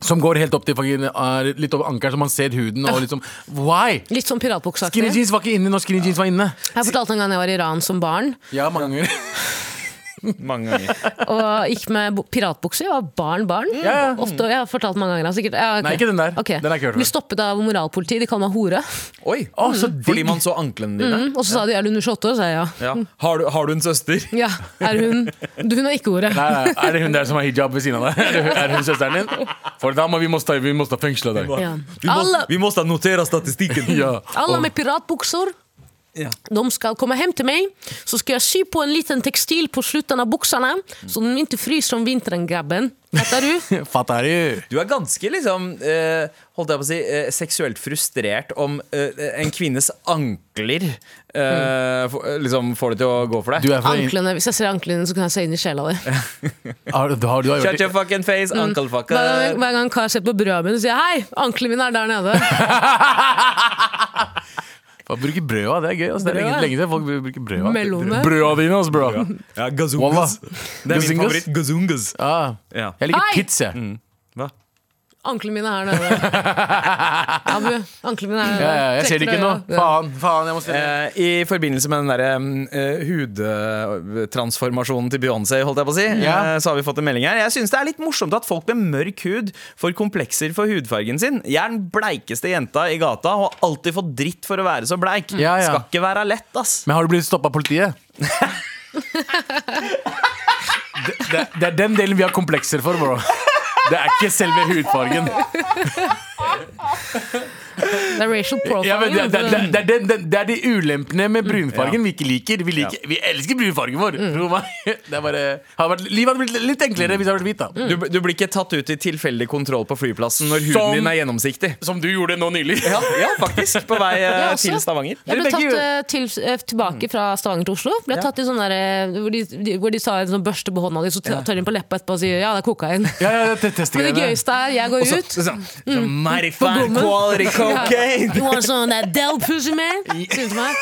C: Som går helt opp til fucking, eh, litt over ankelen, så man ser huden
D: Ah.
C: og liksom Why?
D: Litt sånn
C: Skinny
D: piratbukseaktig.
C: jeans var ikke inne når skinny jeans var inne.
D: Jeg fortalte en gang jeg var i Iran som barn
C: Ja, mange ganger.
B: Mange ganger.
D: og gikk med bu- piratbukse. Jeg var barn, barn.
C: ja.
D: Ofte, jeg har fortalt mange ganger. Sikkert. Ja, ok.
C: Nei, ikke den der.
D: Ok.
C: Den har jeg ikke hørt
D: Ble
C: før.
D: stoppet av moralpolitiet. De kalte meg hore. [laughs]
B: Oi,
C: Å, så digg. Mm.
B: Fordi man så anklene dine.
D: Og så sa de 'er du under 28 år'? sa jeg ja.
B: Ja. Har, du, har du en søster?
D: Ja, er hun Du, Hun er ikke hore.
C: Nei, nei, er det hun der som har hijab ved siden av deg? Er det hun, er det hun søsteren din? For da må vi må ta- vi må ta fengsel av deg.
D: Ja.
B: Vi må,
D: Alle,
B: vi må da notere statistikken.
C: [laughs] Ja.
D: alle med piratbukser
B: Ja.
D: de skal komme hem til meg, så skal jeg sy på en liten tekstil på slutten av buksene, så de ikke fryser om vinteren, grabben. Fattar
C: [laughs]
D: du?
C: Fattar du?
B: Du er ganske liksom eh, holdt jeg på å si, eh, seksuelt frustrert om eh, en kvinnes ankler eh, for, eh, liksom får det til å gå for deg.
C: Du er fra
D: Anklene, hvis jeg ser anklene, så kan jeg se inn i sjela di.
C: har, du har, du har
B: Shut
C: gjort
B: your fucking face,
D: Mm.
B: uncle
D: Hver gang,
B: fucker.
D: hver gang en kar ser på brødet mitt, så sier jeg 'hei, ankelen min er der
C: [laughs]
D: nede'.
C: Å bruke brøda, det er gøy. Altså, det er
D: Brødet.
C: lenge, lenge siden folk bruker brøda.
D: Melone.
C: Brøda dine, altså, bro.
B: Ja,
C: Wallah.
B: gazungas. Det er min
C: Gazungas?
B: favoritt. Gazungas.
C: Ah,
B: Ja.
C: jeg liker
D: Hei!
C: pizza.
B: Hva?
D: Ankelen min er her
C: [laughs]
D: nede. Abu, ankelen min er her nede.
C: Ja, ja, jeg ser det ikke nå.
D: Trekker deg, ja.
C: Faen, faen, jeg må se
B: Eh, I forbindelse med den der mm, eh, hudtransformasjonen til Beyoncé, holdt jeg på å si,
C: Ja.
B: eh, så har vi fått en melding her. Jeg syns det er litt morsomt at folk med mørk hud får komplekser for hudfargen sin. Jeg er den bleikeste jenta i gata og har alltid fått dritt for å være så bleik.
C: Ja, ja.
B: Skal ikke være lett, ass.
C: Men har du blitt stoppa av [laughs] politiet? det, det, det er den delen vi har komplekser for, bro. Det er ikke selve hudfargen.
D: Det er racial
C: Ja, men det,
D: profiling.
C: det, det,
D: vet du.
C: det, det, det, det er de ulempene med brunfargen vi ikke liker. Vi, liker, vi elsker brunfargen vår. Tro meg. Det er bare, har vært, livet hadde blitt litt enklere hvis jeg hadde vært hvit. da
B: Du, du blir ikke tatt ut i tilfeldig kontroll på flyplassen når huden
C: Som-
B: din er gjennomsiktig.
C: Som du gjorde nå nylig.
B: Ja, ja faktisk. På vei eh,
D: Jeg også.
B: til Stavanger.
D: Jeg ble
C: Dere begge-
D: tatt eh, til, eh, tilbake fra Stavanger til Oslo. Ble tatt i sånn der, eh, hvor, de, de, hvor de tar en sånn børste på hånda di, så tar de den på leppa etterpå og sier 'ja, det er kokain'.
C: Ja, ja, det,
D: Men det
C: testegreiene.
D: gøyeste er, jeg går
B: Så,
D: ut
B: så, så, så,
C: Mm.
B: mighty fine
D: gommen.
B: quality cocaine.
D: You want some of that Del pussy, man? Sier hun til meg.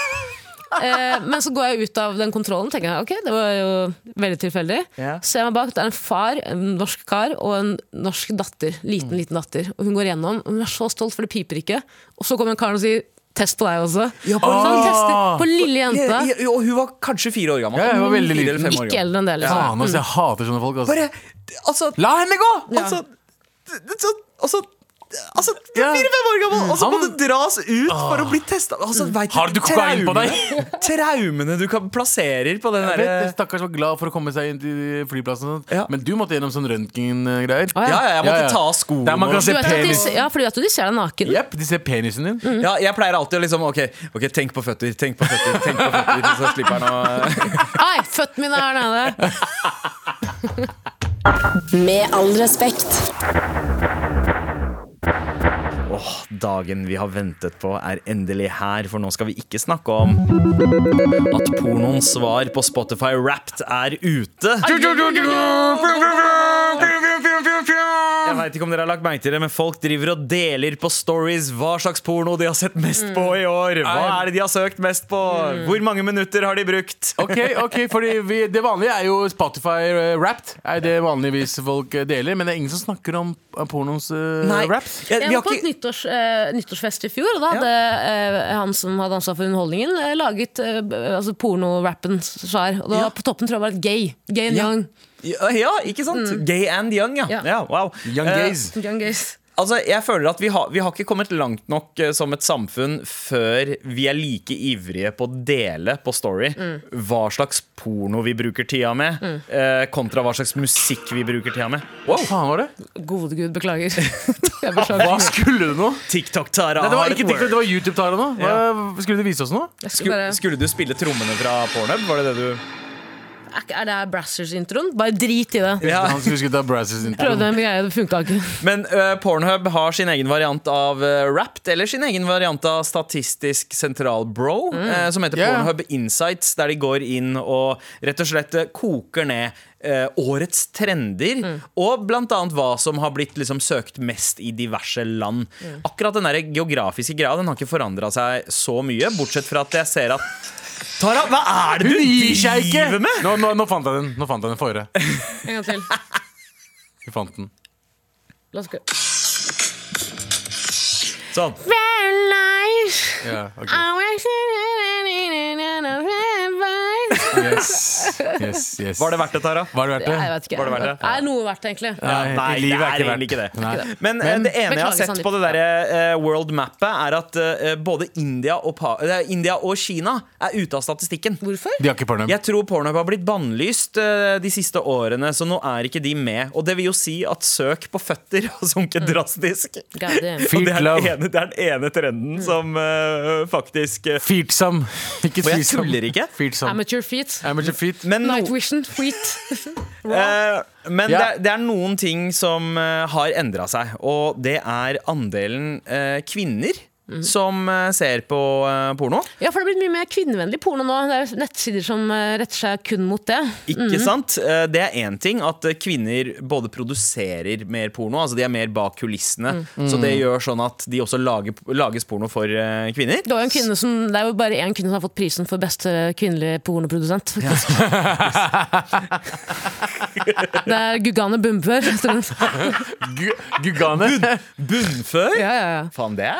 D: Eh, men så går jeg ut av den kontrollen tenker jeg, ok, det var jo veldig tilfeldig.
B: Ja.
D: Ser meg bak, det er en far, en norsk kar og en norsk datter. Liten,
B: Mm.
D: liten datter. Og hun går gjennom, og hun er så stolt, for det piper ikke. Og så kommer en kar og sier 'test på deg også'.
B: på- Ah!
D: så han tester på lille jente.
B: Ja, ja, Og hun var kanskje fire år gammel.
C: Ja, hun var veldig
B: Fire
C: liten.
B: eller fem år
D: Ikke
B: gammel.
D: eldre enn det. Liksom.
C: Faen, altså, jeg hater sånne folk. Altså.
B: Bare, altså
C: La henne gå!
B: Altså, det- det- så- altså Altså, du er
C: Ja.
B: fire-fem år gammel, og så må du
C: Han-
B: dras ut for å bli testa! Altså, vet
C: Har du kokain på deg? [laughs]
B: traumene- Traumene du kan plasserer på den
C: Jeg vet,
B: derre
C: Stakkars var glad for å komme seg inn til flyplassen. og sånt.
B: Ja.
C: Men du måtte gjennom sånn røntgengreier.
D: ja.
B: Ja, ja, jeg måtte ta av skoene
C: Der man
B: og-
C: kan
D: Du
C: se
D: vet at de,
C: penis.
D: se- ja, for du vet jo de ser deg naken.
C: Jepp, de ser penisen din.
B: Ja, jeg pleier alltid å liksom Ok, ok, tenk på føtter, tenk på føtter, tenk på føtter så slipper han å
D: Ai, føttene mine er her nede.
A: Med all respekt.
B: Åh, dagen vi har ventet på er endelig her, for nå skal vi ikke snakke om at pornoens svar på Spotify Wrapped er ute. Jeg veit ikke om dere har lagt merke til det, men folk driver og deler på stories hva slags porno de har sett mest på i år.
C: Mm.
B: Hva er det de har søkt mest på? Hvor mange minutter har de brukt?
C: Ok,
B: [laughs]
C: uh, ok, fordi vi, Det vanlige er jo Spotify eh, Wrapped. Er det vanligvis folk eh, deler. Men det er ingen som snakker om eh, pornos uh, wrapped.
B: Ja,
D: Jeg
B: vi
D: var
B: har
D: på et
B: ikke
D: nyttårs, eh, nyttårsfest i fjor, og da hadde eh, han som hadde ansvar for underholdningen, eh, laget eh, b- altså pornorappen svær. Og da
B: Ja.
D: på toppen tror jeg var et gay. Gay and
B: Ja.
D: young.
B: Ja, ja, ikke sant? Gay and young, ja.
D: Mm. Ja.
B: ja wow.
C: Young
B: Eh,
C: gays.
D: Young gays.
B: Altså, jeg føler at vi har, vi har ikke kommet langt nok eh, som et samfunn før vi er like ivrige på å dele på Story
D: Mm.
B: hva slags porno vi bruker tida med, eh, kontra hva slags musikk vi bruker tida med.
C: Wow. Faen var det?
D: Gode gud, [laughs] beklager. Jeg
C: Hva
D: beklager.
C: skulle du nå?
B: TikTok-Tara
C: Nei, det var
B: har
C: ikke
B: et
C: TikTok,
B: word.
C: det var YouTube-Tara nå. Hva- Skulle du vise oss noe?
D: Jeg skulle
B: Skulle,
D: bare,
B: skulle du spille trommene fra pornhub? Var det det du
D: er ikke- er det Brassers-introen? Bare drit i det.
B: Ja.
C: Han skulle ta Brazzers intro.
D: Prøvde en greie, det funka ikke.
B: Men eh, Pornhub har sin egen variant av uh, Wrapped, eller sin egen variant av Statistisk sentralbro, eh, som heter
C: Mm. Ja, ja.
B: Pornhub Insights, der de går inn og rett og slett eh, koker ned eh, årets trender,
C: Mm.
B: og blant annet hva som har blitt liksom, søkt mest i diverse land.
C: Mm.
B: Akkurat den der geografiske greia den har ikke forandra seg så mye, bortsett fra at jeg ser at Tara, hva er det
C: Hun
B: du
C: gir seg
B: driver
C: ikke!
B: med?!
C: Nå, nå, nå fant jeg den. Nå fant jeg den for øret.
D: En gang til.
C: Vi fant den.
D: La oss gå.
B: Sånn.
D: Very nice.
C: Ja, ok.
D: I want you-
C: Yes, yes, yes.
B: Var det verdt det, Tara?
C: Var det verdt
D: Nei, Jeg
C: det?
D: vet ikke.
B: Var det verdt det?
D: Er noe verdt, egentlig?
C: Nei,
B: Nei,
C: i
B: det
C: livet
B: er
C: verdt.
B: egentlig det.
C: Nei.
B: Men, eh, det ene jeg har
D: Beklager,
B: sett
D: Sandeep.
B: på det der, eh, world-mappet, er at eh, både India og, pa eh, India og Kina er ute av statistikken.
D: Hvorfor?
C: De har ikke porno.
B: Jeg tror pornhub har blitt bannlyst eh, de siste årene, så nå er ikke de med. Og det vil jo si at søk på føtter har sunket
D: Mm.
B: drastisk.
D: God damn.
B: Og det er, den
C: Feet-love.
B: ene, det er den ene trenden som eh, faktisk eh,
C: Feetsam. Ikke
B: Og jeg
C: feetsam.
B: tuller ikke.
C: Feetsam.
D: Amateur feet.
C: Amateur feet.
B: men no-
D: Night vision feet.
B: Eh, men
C: Ja.
B: det, er- det er noen ting som eh, har endra seg, og det er andelen eh, kvinner
C: Mhm.
B: som eh, ser på eh, porno.
D: [laughs] Ja, for det har blitt mye mer kvinnevennlig porno nå. Det er jo nettsider som eh, retter seg kun mot det.
B: Ikke
C: Mhm.
B: sant? Eh, Det er én ting at eh, kvinner både produserer mer porno, altså de er mer bak kulissene.
C: Mm.
B: Så det gjør sånn at de også lager, lages porno for eh, kvinner.
D: Det, var jo en kvinne som, det er jo bare én kvinne som har fått prisen for beste kvinnelige pornoprodusent. faktisk. det er Gugane Bumbør. heter hun.
C: Gu- Gugane.
B: Bunnfør!
D: [laughs] Ja, ja, ja.
B: Faen, det er,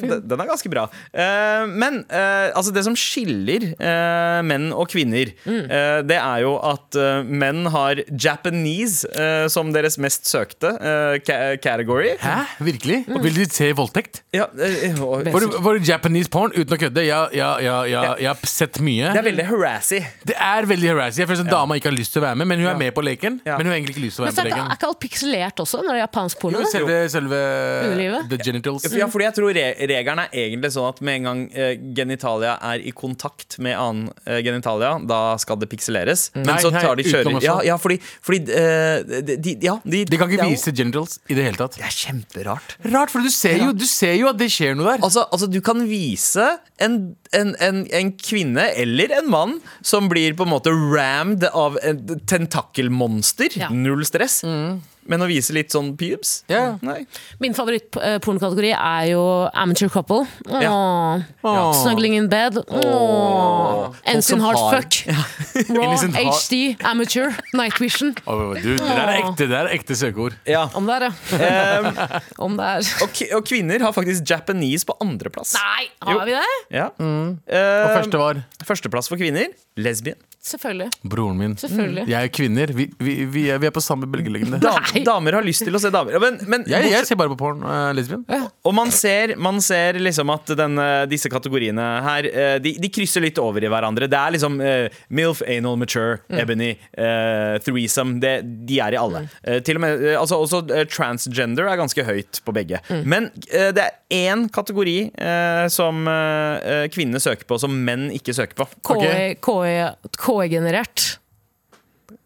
B: Den- Den er ganske bra. Eh, men eh, altså det som skiller eh, menn og kvinner,
C: Mm.
B: eh, det er jo at eh, menn har Japanese eh, som deres mest søkte eh, ca- category.
C: Hæ? Mm. Virkelig?
B: Mm.
C: Og vil de se voldtekt?
B: Ja, eh, og-
C: Var det- var det Japanese porn? Uten å kødde. Ja, ja, ja, ja, jeg har sett mye.
B: det er veldig harassy.
C: Det er veldig harassing. Jeg føler som dama ikke har lyst til å være med, men hun er med på leken.
B: Ja.
C: Men hun har egentlig ikke lyst til å
D: Men
C: være
D: så er
C: med
D: ikke-
C: på
D: er
C: leken.
D: ikke alt pikselert også når det er japansk porno?
C: Jo,
D: da?
C: selve, selve
D: Underlivet?
C: the genitals.
B: Ja, fordi jeg tror re regelen er egentlig sånn at med en gang eh, genitalia er i kontakt med annen eh, genitalia, da skal det pikseleres. Men
C: Mm. Nei,
B: så
C: nei,
B: tar de
C: utenom
B: kjører
C: også.
B: Ja, ja fordi, fordi eh, de, de, ja, de,
C: De kan
B: det er
C: ikke
B: jo-
C: vise genitals i det hele tatt.
B: Det er kjemperart.
C: Rart, for du ser jo, du ser jo at det skjer noe der.
B: Altså, altså, du kan vise en, en, en, en kvinne eller en mann som blir på en måte rammed av et tentakelmonster.
D: Ja. Mm.
B: Null stress. Men å vise litt sånn pubes?
C: Ja.
B: Nei.
D: Min favoritt-pornokategori er jo amateur couple. Åh.
C: Åh.
D: Snuggling in bed. Åh. Ends in
B: som
D: hard
B: har-
D: fuck.
B: [laughs]
C: Innocent
D: Raw,
C: har-
D: HD, amateur, night vision.
C: Å, Du, det der er ekte, det der er ekte søkeord.
B: Ja.
D: Om det er, ja.
B: Ehm,
D: [laughs] Om det er.
B: og, ki- og kvinner har faktisk Japanese på andreplass.
D: Nei, Mm. har
B: Jo.
D: vi det?
B: Ja.
C: Og
B: Ehm,
C: første var
B: Førsteplass for kvinner lesbien.
D: Selvfølgelig.
C: Broren min.
D: Selvfølgelig.
B: Mm,
C: Jeg er kvinner. Vi, vi, vi, er, vi er på samme bølgelengde.
B: Dam,
D: Nei.
B: damer har lyst til å se damer. Ja, Men, men
C: Jeg, jeg ser bare på porn. eh, lesbien.
B: Og man ser, man ser liksom at denne- disse kategoriene her eh, de, de krysser litt over i hverandre. Det er liksom eh, MILF, Anal, Mature,
C: Mm.
B: Ebony, eh, Threesome. Det, de er i alle. Eh, til og med, eh, altså, også eh, transgender er ganske høyt på begge.
C: Mm.
B: Men eh, det er én kategori eh, som eh, eh, kvinnene søker på, som menn ikke søker på.
C: Ok.
D: KI-generert.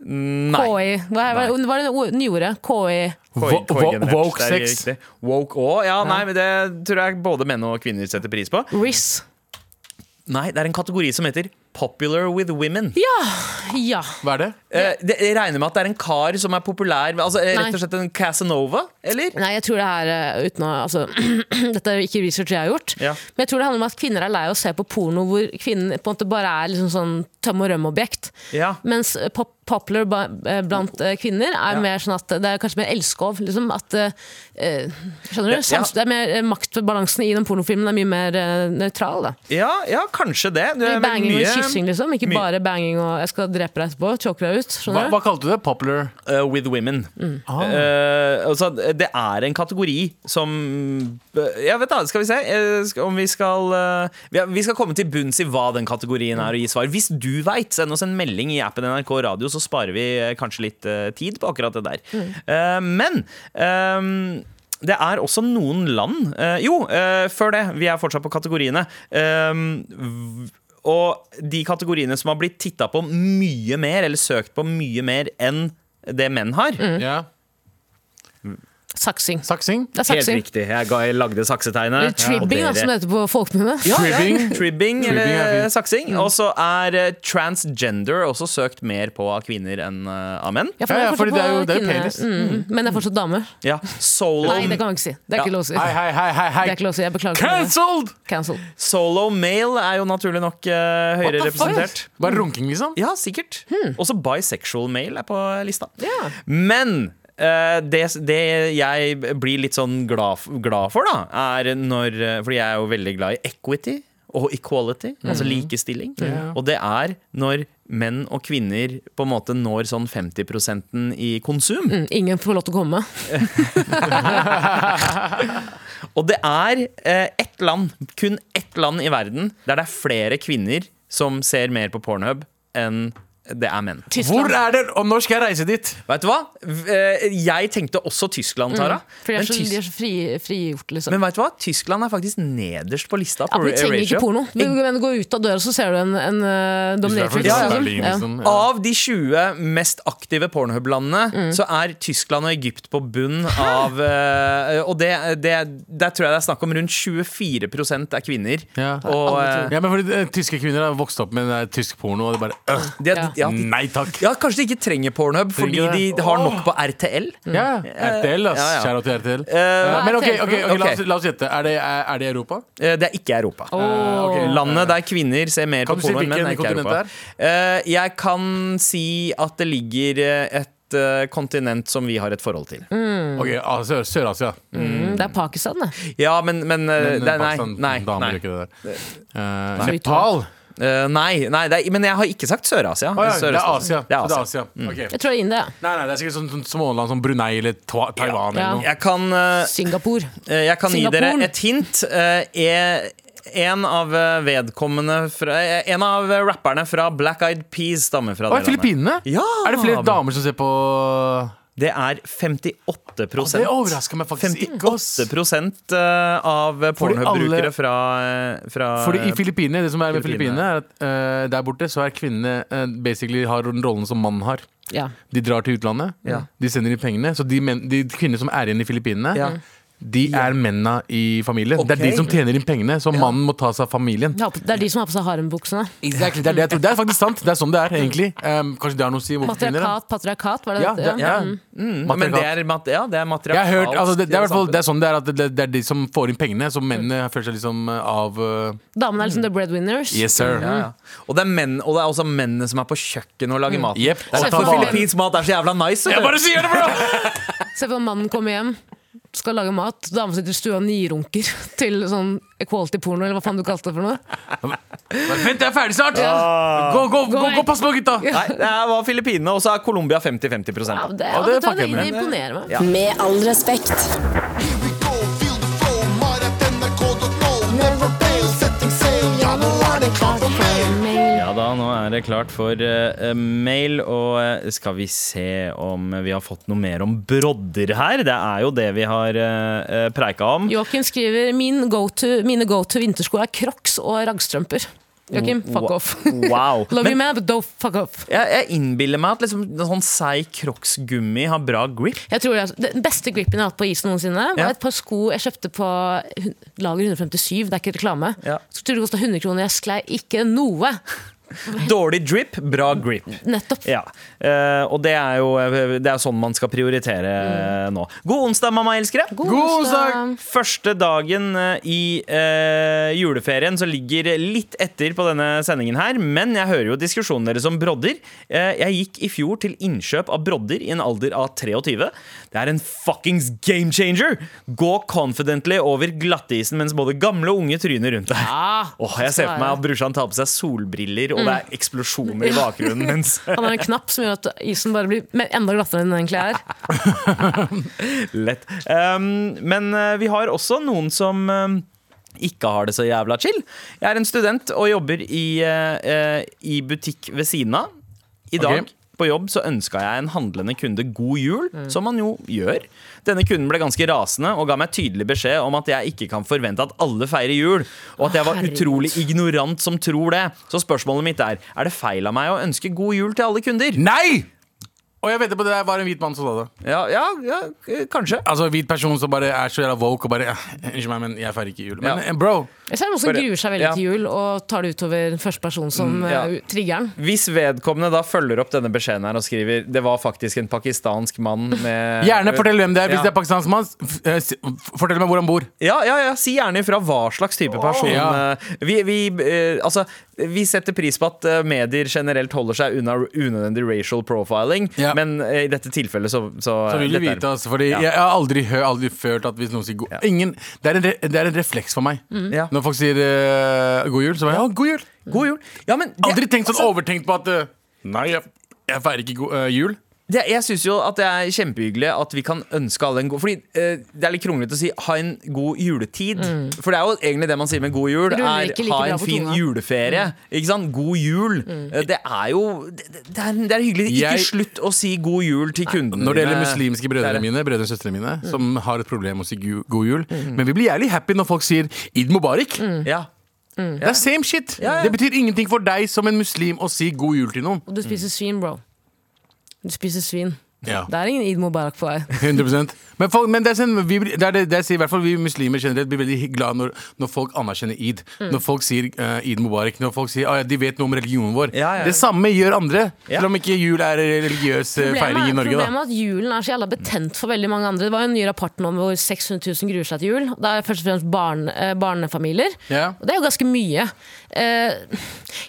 B: Nei.
D: KI Hva er,
B: Nei.
D: hva er det o- nyordet? KI
C: Wo- wo-
B: Koi-generert,
C: woke
B: det er
C: sex.
B: riktig. Woke òg? Ja, nei, men det tror jeg både menn og kvinner setter pris på.
D: RIS.
B: Nei, det er en kategori som heter Popular with women.
D: Ja! ja.
C: Hva er det?
B: Eh, det, jeg regner med at det er en kar som er populær altså, eh,
D: Nei.
B: Rett og slett en Casanova, eller?
D: Nei, jeg tror det er eh, uten å, altså, [clears throat] Dette er jo ikke research jeg har gjort,
B: Ja.
D: men jeg tror det handler om at kvinner er lei av å se på porno hvor kvinnen på en måte bare er liksom sånn tøm og røm-objekt.
B: Ja.
D: Mens eh, pop popular ba eh, blant eh, kvinner er
B: Ja.
D: mer sånn at det er kanskje mer elskov. Liksom, at, eh, eh, skjønner du?
B: Ja, ja.
D: Sams, Det er mer eh, maktbalansen i den pornofilmen er mye mer eh, nøytral. Da.
B: Ja, ja, kanskje det. Du, eh, men
D: Banging
B: mye-
D: og kyssing, liksom. Ikke
B: mye-
D: bare banging og 'jeg skal drepe deg etterpå', choke deg ut.
C: Hva,
D: Skjønner du?
C: hva kalte du det? Popular?
B: eh, with women.
D: Mm.
B: Eh, altså, det er en kategori som Jeg vet da, skal vi se eh, sk- om vi skal eh, vi- Vi skal komme til bunns i hva den kategorien er, og gi svar. Hvis du veit, send oss en melding i appen NRK Radio, så sparer vi eh, kanskje litt eh, tid på akkurat det der.
D: Mm.
B: Eh, men ehm, det er også noen land eh, Jo, eh, før det. Vi er fortsatt på kategoriene. Ehm, v- og de kategoriene som har blitt titta på mye mer, eller søkt på mye mer enn det menn har.
D: Mm.
C: Ja.
D: Saksing.
C: Saksing?
D: Det er
B: Helt
D: saksing.
B: riktig. Jeg, ga, jeg lagde saksetegnet.
D: Eller tribbing, altså, da, som det heter på folkemunne.
B: ja, tribbing.
C: Tribbing.
B: Ja. tribbing
C: Tribbing er
B: eller
C: fint.
B: saksing.
D: Mm.
B: Og så er eh, transgender også søkt mer på av kvinner enn eh, av menn.
D: Ja, for
C: Ja, ja,
D: det er fortsatt
C: fordi det er jo-
D: på
C: det er jo
D: kvinne-
C: penis.
D: Mm, men det er fortsatt damer.
B: Ja, solo,
D: Nei, det kan man ikke si. Det er
B: Ja.
D: ikke lov å si.
C: Hei,
D: Det
C: hei, hei, hei,
D: er ikke
C: hei.
D: lov å si. Jeg beklager. for det.
C: Cancelled!
D: Cancel.
B: solo male er jo naturlig nok eh, høyere
C: What the fuck?
B: representert.
C: Bare runking, liksom?
B: Ja, sikkert. Også bisexual male er på lista. Men eh, det, det jeg blir litt sånn glad, f- glad for, da, er når eh, Fordi jeg er jo veldig glad i equity og equality, altså likestilling. Og det er når menn og kvinner på en måte når sånn 50 i konsum.
D: Mm, Ingen får lov til å komme.
B: Og det er eh, ett land, kun ett land i verden, der det er flere kvinner som ser mer på pornhub enn det er menn.
C: Hvor
D: Tyskland.
C: er det? Og når skal jeg reise dit?
B: Vet du hva? V- eh, Jeg tenkte også
D: Mm,
B: Tyskland, Tara.
D: For de
B: Men,
D: er så, de
B: Tys
D: er så fri, frigjort, liksom.
B: men vet du hva? Tyskland er faktisk nederst på lista.
D: ja,
B: På
D: for de trenger ikke
B: ratio.
D: porno. Du men gå ut av døra, så ser du en, en eh, dominatrix.
B: Ja, ja.
D: liksom. Ja.
B: Av de 20 mest aktive
D: Mm.
B: pornhub-landene så er Tyskland og Egypt på bunn av eh, Og det, det, der tror jeg det er snakk om rundt 24 er kvinner.
C: Ja.
B: Og eh,
C: Ja, men fordi eh, Tyske kvinner har vokst opp med eh, tysk porno, og det er bare øh,
B: de, ja. Ja, de,
C: Nei takk!
B: ja, kanskje de ikke trenger pornhub fordi
C: Trenger det.
B: de har nok på RTL.
D: Mm.
C: Ja, RTL, ass.
B: Eh, Ja, ja.
C: Kjære til RTL.
B: Eh,
C: Men ok, ok, ok, la,
B: Ok.
C: oss, la oss gjette. Er det, er, er det Europa? Eh,
B: Eh, Det er ikke Europa. Landet der kvinner ser mer
C: Kan
B: på
C: du si
B: porno enn menn,
C: hvilken
B: er ikke
C: kontinent
B: Europa. Eh, Jeg kan si at det ligger eh, et eh, kontinent som vi har et forhold til.
C: Ok, ah, Sør- Sør-Asia.
D: Mm, Det er Pakistan, det.
B: Ja, men, men, eh,
C: Men, eh,
B: det, Nei,
C: Pakistan-
B: nei,
C: damer
B: nei.
C: gjør ikke det der. Eh,
D: Nei.
C: Nepal?
B: Eh, nei, nei det er, men jeg har ikke sagt Sør-Asia.
C: Å ja, det er
B: Sørøst-Asia.
C: Asia.
B: Det er Asia. Mm.
C: Ok.
D: Jeg tror det er India. ja.
C: Nei, nei, det er sikkert sånn, sånn småland som Brunei eller Ta
D: Ja.
C: Taiwan eller noe.
B: Jeg kan, eh,
D: Singapore.
B: eh, jeg kan gi
D: Singapore.
B: dere et hint. Eh, er- en av eh, vedkommende fra, eh, En av rapperne fra Black Eyed Peas stammer fra
C: Å,
B: det landet.
C: Filippinene?
B: Ja!
C: Er det flere damer som ser på
B: Det er 58
C: Det overrasker meg faktisk ikke. ass.
B: 58 eh, av pornobrukere
C: alle-
B: fra, eh, fra
C: Fordi i Filippinene, det som er med
B: Filippinene.
C: Filippinene, er at eh, der borte så er kvinnene eh, basically har den rollen som mannen har.
D: Ja.
C: De drar til utlandet,
B: Ja.
C: de sender inn pengene. Så de, men, de kvinner som er igjen i Filippinene,
B: Ja.
C: de er mennene i familien. Det er
B: Ok.
C: de som tjener inn pengene, så mannen må ta seg av familien.
D: Jeg har på- Det er de som har på seg harembuksene.
C: Exactly, det, er det, jeg tror. det er faktisk sant. Det er sånn det er, egentlig. Um, kanskje det har noe å si? hvorfor kvinner, da?
D: Matriarkat, patriarkat, var det
C: Ja,
D: det?
C: det,
D: het?
C: ja.
B: Men det
C: Matriarkat.
B: er, mat- ja, det er materiale.
C: Jeg har hørt, altså det, det, er i hvert fall, det er sånn det er at det, det er de som får inn pengene, så mennene føler seg liksom eh, av eh,
D: Damene er liksom the breadwinners.
C: Yes, sir.
B: ja, ja. Og, det er menn, og det er også mennene som er på kjøkkenet og lager mat.
C: Mm. Jep.
B: Det er
C: Og ta
B: derfor
C: vare.
B: filippinsk mat er så jævla nice. vet du.
C: Jeg bare sier det, bro!
D: Se for deg mannen kommer hjem. skal lage mat, dama sitter i stua og nirunker [laughs] til sånn equality-porno, eller hva faen du kalte det for noe.
C: Bare Vent, jeg er ferdig snart! Gå, gå, gå, gå,
D: vei.
C: pass på gutta!
B: Nei, det var Filippinene, og så er Colombia
D: Ja,
B: 50-50
D: det,
C: Ja,
D: ja,
C: det
D: det,
C: fucker jeg med.
D: det imponerer meg.
A: Med all respekt.
E: Here we go, feel the flow, mar at nrk.no. Never fail, setting sail, ja nå er det klart for mail.
B: Ja da, nå er det klart for eh, mail, og eh, skal vi se om vi har fått noe mer om brodder her? Det er jo det vi har uh, preika om.
D: Joakim skriver Min go to, mine go to vintersko er crocs og raggstrømper. Joakim, fuck
B: Wa-
D: off.
B: wow.
D: [laughs] Love
B: Men-
D: you, man, but don't fuck off.
B: Jeg, jeg innbiller meg at liksom, en sånn seig crocs-gummi har bra grip.
D: Jeg tror det, er- Den beste gripen jeg har hatt på isen noensinne, var
B: Ja.
D: et par sko jeg kjøpte på hun- lager 157, det er ikke reklame.
B: Ja.
D: Så tror det kosta 100 kroner, jeg sklei ikke noe.
B: Dårlig drip, bra grip.
D: Nettopp.
B: Ja, eh, Og det er jo det er sånn man skal prioritere eh, nå. God onsdag, mamma elskere!
C: God onsdag!
B: Første dagen eh, i eh, juleferien som ligger litt etter på denne sendingen her, men jeg hører jo diskusjonen deres om brodder. Eh, jeg gikk i fjor til innkjøp av brodder i en alder av 23. Det er en fuckings game changer! Gå confidently over glattisen mens både gamle og unge tryner rundt deg.
D: Ja,
B: Åh, jeg ser
D: så er
B: for meg
D: det.
B: at brorsan tar på seg solbriller, og det er eksplosjoner i bakgrunnen. mens
D: Han har en knapp som gjør at isen bare blir me- enda glattere enn den egentlig er.
B: Lett. Um, men eh, vi har også noen som eh, ikke har det så jævla chill. Jeg er en student og jobber i, eh, eh, i butikk ved siden av. I dag
C: Ok.
B: på jobb så ønska jeg en handlende kunde god jul, som man jo gjør. Denne kunden ble ganske rasende og ga meg tydelig beskjed om at jeg ikke kan forvente at alle feirer jul, og at jeg var
D: Herregud.
B: utrolig ignorant som tror det. Så spørsmålet mitt er er det feil av meg å ønske god jul til alle kunder.
C: Nei! Og jeg venter på det der var en hvit mann som sa det.
B: Ja, ja, ja eh, kanskje.
C: Altså en hvit person som bare er så jævla woke og bare ja, Unnskyld meg, men jeg feirer ikke jul. Men
B: Ja.
C: eh, bro,
D: Jeg ser noen som
B: Bare-
D: gruer seg veldig
B: ja. Mm,
D: til jul og tar det utover den første personen som
B: ja.
D: eh, trigger den.
B: Hvis vedkommende da følger opp denne beskjeden her og skriver Det var faktisk en pakistansk mann med
C: gjerne fortell hvem det er hvis
B: Ja.
C: det er pakistansk mann. f- eh, si- f- Fortell meg hvor han bor.
B: Ja, ja, ja, si gjerne ifra hva slags type person
C: Ja.
B: eh, vi, vi, eh, altså, vi setter pris på at eh, medier generelt holder seg unna unødvendig racial profiling
C: Ja.
B: Men eh, i dette tilfellet så, så,
C: Så vil du
B: dette er-
C: vite, altså, fordi
B: Ja.
C: Jeg har aldri, hø aldri følt at hvis noen sier god Ingen, det, er en re det er en refleks for meg.
B: Ja.
C: Når folk sier eh, god jul, så bare Mm. ja, god jul.
B: God jul ja, men, det-
C: Aldri tenkt sånn
B: altså,
C: overtenkt på at eh, Nei, jeg, jeg feirer ikke god, eh, jul.
B: det, jeg syns jo at det er kjempehyggelig at vi kan ønske alle en god Fordi eh, det er litt kronglete å si 'ha en god juletid'. For det er jo egentlig det man sier med god jul.
D: Mm. Ruller
B: Er,
D: ikke like
B: ha
D: bra
B: en
D: på
B: fin
D: tunga. Mm.
B: juleferie. Ikke sant? God jul. Eh, Det er jo Det, det, er, det er hyggelig. Ikke
C: Jeg-
B: slutt å si 'god jul' til kundene
C: Når det gjelder
B: dine.
C: muslimske
B: Det
C: brødrene
B: er-
C: mine, brødrene og søstrene mine,
B: Mm.
C: som har et problem med å si gu- god jul. Men vi blir jævlig happy når folk sier id mubarak.
B: Ja.
C: Det er same shit.
B: Mm. Ja, ja.
C: Det betyr ingenting for deg som en muslim å si god
B: [laughs]
C: jul til noen.
D: Og du spiser
B: Mm.
D: svin, bro. Du spiser svin.
C: Ja.
D: Det er ingen Eid Mubarak på deg.
C: 100 Men, folk, men det, er sånn, vi, blir- det, er det, det jeg sier i hvert fall vi muslimer generelt blir veldig glad når, når folk anerkjenner id.
B: Mm.
C: Når folk sier eh, id mubarak, når folk sier ah, ja, de vet noe om religionen vår.
B: Ja, ja, ja.
C: Det samme gjør andre.
B: Ja.
C: Selv om ikke jul er en religiøs eh, feiring i Norge.
D: problemet er at julen er så jævla betent for veldig mange andre. Det var jo en ny rapport nå om hvor 600 000 gruer seg til jul. Det er først og fremst barn, eh, barnefamilier.
C: Ja.
D: Og det er jo ganske mye. Eh,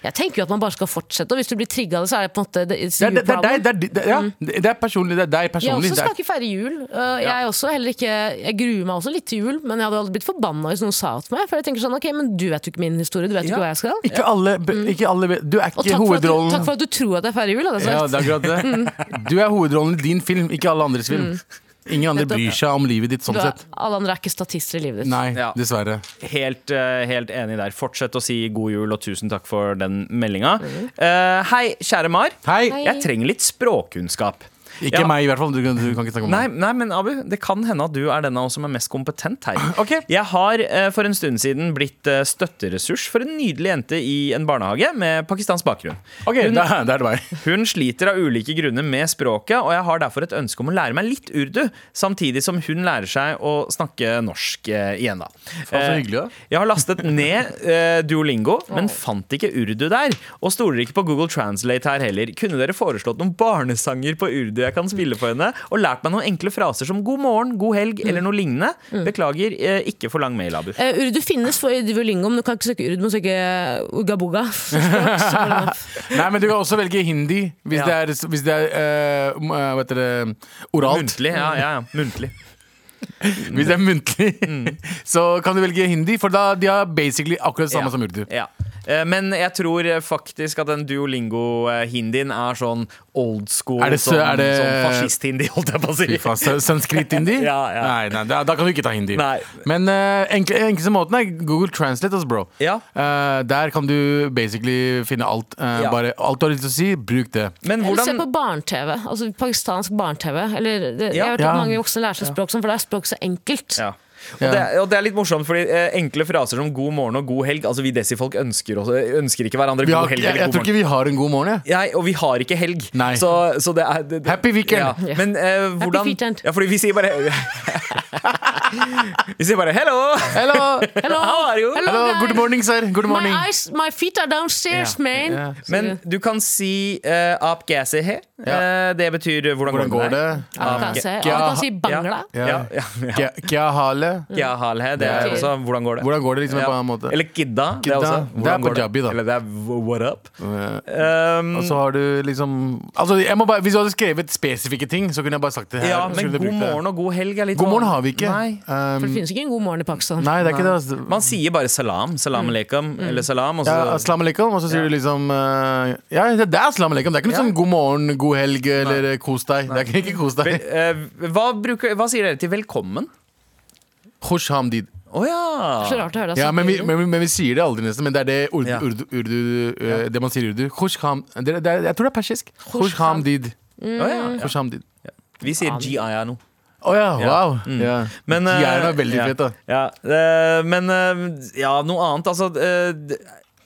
D: jeg tenker jo at man bare skal fortsette, og hvis du blir trigga av det, så er det på en måte it's
C: Da.
D: your
C: Det, er- det, det, er
D: problem.
C: deg- det, er di- det, ja,
D: Mm.
C: det det er personlig. Det er deg
D: Jeg
C: personlig.
D: også
C: Det
D: skal
C: er-
D: ikke feire jul. Eh, jeg, er også heller ikke, jeg gruer meg også litt til jul, men jeg hadde aldri blitt forbanna hvis noen sa det til meg. For jeg tenker sånn, ok, men du vet jo ikke min historie, du vet jo
B: Ja.
D: ikke hva jeg skal.
C: Ikke alle, be- ikke alle be- Du er
D: Mm. Og takk
C: ikke
D: for, at du,
C: hovedrollen.
D: takk for at du Mm. tror at jeg feirer jul, hadde jeg sagt.
C: Ja, det er akkurat det. Du er hovedrollen i din film, ikke alle andres film. Ingen andre
D: Mm. Nettopp.
C: bryr seg om livet ditt sånn
D: Du er-
C: sett.
D: Alle andre er ikke statister i livet ditt.
C: Nei,
B: Ja.
C: dessverre.
B: Helt, eh, helt enig der. Fortsett å si god jul, og tusen takk for den meldinga.
D: Mm.
B: Eh, hei, kjære Mar.
C: Hei!
B: Jeg trenger litt språkkunnskap.
C: Ikke
B: Ja.
C: meg, i hvert fall. Du, kan- du kan ikke snakke om
B: Nei,
C: meg.
B: nei, men Abu, det kan hende at du er den av oss som er mest kompetent her.
C: [clears throat] Ok.
B: Jeg har eh, for en stund siden blitt eh, støtteressurs for en nydelig jente i en barnehage med pakistansk bakgrunn.
C: Ok, da, da er det meg.
B: Hun sliter av ulike grunner med språket, og jeg har derfor et ønske om å lære meg litt urdu, samtidig som hun lærer seg å snakke norsk eh, igjen, da.
C: så
B: Eh,
C: hyggelig, da.
B: Jeg har lastet ned eh, Duolingo, men fant ikke urdu der. Og stoler ikke på Google Translate her heller. Kunne dere foreslått noen barnesanger på urdu jeg kan spille for henne? Og lært meg noen enkle fraser som 'god morgen', 'god helg' eller noe lignende? Beklager, eh, ikke for lang mail, Abu.
D: Eh, urdu finnes for Duolingo, men du kan ikke søke urdu, du må søke ugabuga.
C: [laughs] Nei, men du kan også velge hindi hvis
B: Ja.
C: det er, hvis det er eh, m- eh, hva heter det, oralt.
B: Muntlig. Ja, ja, ja. Muntlig.
C: Hvis det er muntlig,
B: Mm.
C: [laughs] så kan du velge hindi, for da de har basically akkurat det samme
B: Ja.
C: som urdu.
B: Ja. Eh, Men jeg tror eh, faktisk at den duolingo-hindien er sånn old school,
C: Er det sø-
B: sånn,
C: er det-
B: sånn fascist-hindi, holdt jeg på å si.
C: Fy faen, sø- Sanskrit-hindi?
B: [laughs] Ja, ja.
C: Nei, nei da, da kan du ikke ta hindi.
B: Nei.
C: Men eh, enkle, enkleste måten er Google Translate, altså, bro.
B: Ja.
C: Eh, der kan du basically finne alt. eh,
B: Ja.
C: Bare alt du har lyst til å si, bruk det.
B: Men
D: Eller se
B: hvordan
D: på barne-TV. Altså pakistansk barne-TV. Eller, det, Jeg har hørt
C: Ja.
D: at mange voksne lærer seg språk sånn, for da er språk så enkelt.
B: ja. Og, det, er- og det er litt morsomt, fordi eh, enkle fraser som 'god morgen' og 'god helg' Altså Vi desifolk ønsker, også- ønsker ikke hverandre
C: Vi har,
B: god helg
C: jeg,
B: eller
C: jeg
B: god
C: tror
B: morgen.
C: ikke vi har en god morgen, jeg.
B: Nei, og vi har ikke helg.
C: Nei.
B: Så, så det er det, det,
C: Happy weekend.
B: Ja. Men eh, hvordan
D: weekend.
B: Ja, fordi vi sier bare [laughs] Vi sier bare 'hello'.
C: Hello!
D: Hello,
B: How are you?
C: Hello,
D: guys.
C: good morning, sir. Good
D: My,
C: morning.
D: eyes, my feet are downstairs,
B: Ja.
D: man.
C: Ja.
B: Men du kan si eh, 'ap gæse he'.
C: Ja.
B: Eh, det betyr eh, 'hvordan,
C: Hvordan går
B: med deg?'
C: det?
D: Ja, du kan se- ja, du kan si bangla.
B: Ja. Ja. Ja. Ja.
C: Kya- Kya hale?
B: Ja, halhe, det
D: Det
B: er
D: er-
B: også 'hvordan går det'?
C: Hvordan går det, liksom, på en annen måte?
B: Eller kidda. Det
C: Kidda.
B: er, også,
C: Det er
B: hvordan går
C: punjabi, da.
B: Eller det er w- what up.
C: Eh,
B: Um,
C: Og så har du liksom Altså, jeg må bare, Hvis du hadde skrevet spesifikke ting, så kunne jeg bare sagt det her.
B: ja,
C: Så
B: men
C: skulle jeg
B: god
C: brukt det.
B: morgen og god helg er litt
C: God morgen
B: vanlig.
C: har vi ikke.
B: Nei.
C: Um,
D: For det finnes ikke en god morgen i Pakistan.
C: nei, det er ikke det. Altså.
B: Man sier bare salam.
D: Mm.
B: Salam aleikum. Eller salam. Og så,
C: Ja, aslam alaikum, og så sier
B: Ja.
C: du liksom eh, Ja, det det er aslam alaikum. Det er ikke noe
B: Ja.
C: sånn god morgen, god helg eller eh, kos deg. Det er ikke, ikke kos deg.
B: Eh, hva, bruker, hva sier dere til velkommen?
C: Khush hamdid.
B: Å
D: Så
B: ja!
D: rart å høre altså. deg
C: Ja,
D: snakke
C: men vi,
D: urdu.
C: men, vi- men vi sier det aldri, nesten. Men det er det urdu,
B: Ja.
C: urdu, urdu eh, Det man sier i urdu. Khush ham det, er- det, er- Jeg tror det er persisk. Khush hamdid.
B: Å ja.
D: Mm.
C: Khush hamdid.
B: Vi sier GIANO.
C: Å ja, Mm.
B: Ja.
C: wow. Ja.
B: Men,
C: De er da
B: eh,
C: veldig
B: ja,
C: fete, da.
B: Ja, eh, men eh, ja, noe annet. Altså eh, Det,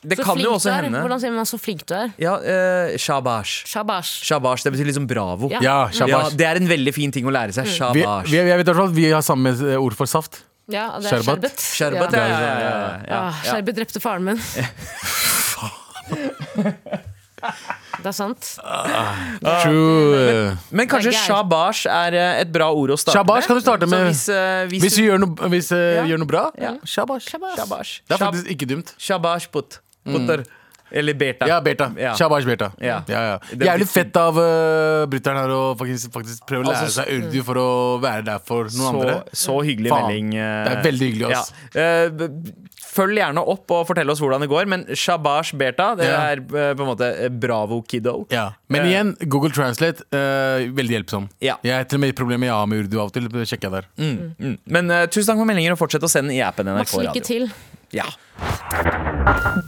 B: det
D: Så
B: kan
D: flink
B: jo også
D: du er.
B: hende
D: Hvordan sier man 'så flink du er'?
B: Ja, eh, shabash.
D: Shabash.
B: Shabash, det betyr liksom bravo.
D: Ja. Mm.
C: Ja,
B: Ja,
C: shabash.
B: det er en veldig fin ting å lære seg.
C: Vi,
B: Shabash.
C: vi, jeg vet i hvert fall at vi har samme eh, ord for saft.
D: Ja, det er
C: Sherbet.
D: Sherbet.
B: Sherbet, ja.
D: ja.
B: ja, ja, ja,
D: Ah,
B: ja,
D: Sherbet drepte faren min. Det er sant.
C: True.
B: Men kanskje
D: Det er gøy.
B: shabash er eh, et bra ord å starte
C: Shabash kan du starte
B: Så
C: med.
B: Hvis, eh, hvis,
C: Hvis du gjør noe, hvis, eh,
B: Ja.
C: gjør noe bra,
B: Ja.
C: shabash.
B: Shabash.
C: Det er
B: Shab-
C: faktisk ikke dumt.
B: shabash put. Putter. Eller beta.
C: Ja, Berta.
B: Ja.
C: Shabash Berta.
B: Ja.
C: Ja. Ja,
B: Det er
C: Jævlig
B: litt
C: fett av uh, brutter'n her å faktisk, faktisk prøve å lære
B: Altså,
C: seg urdu for å være der for
B: så,
C: noen andre.
B: så hyggelig
C: Faen.
B: melding. eh,
C: Det er veldig hyggelig, ass.
B: ja. Eh, b- Følg gjerne opp og fortell oss hvordan det går, men shabash berta, det
C: Ja.
B: er eh, på en måte eh, bravo kiddo.
C: Ja. Men
B: Eh.
C: igjen, Google Translate, eh, veldig hjelpsom.
B: Ja.
C: Jeg til og med problemer jeg har med urdu av og til, sjekker jeg der.
B: Mm. Men eh, tusen takk for meldinger, og fortsett å sende i appen NRK
D: Masse lykke
B: Radio.
D: til.
B: Ja.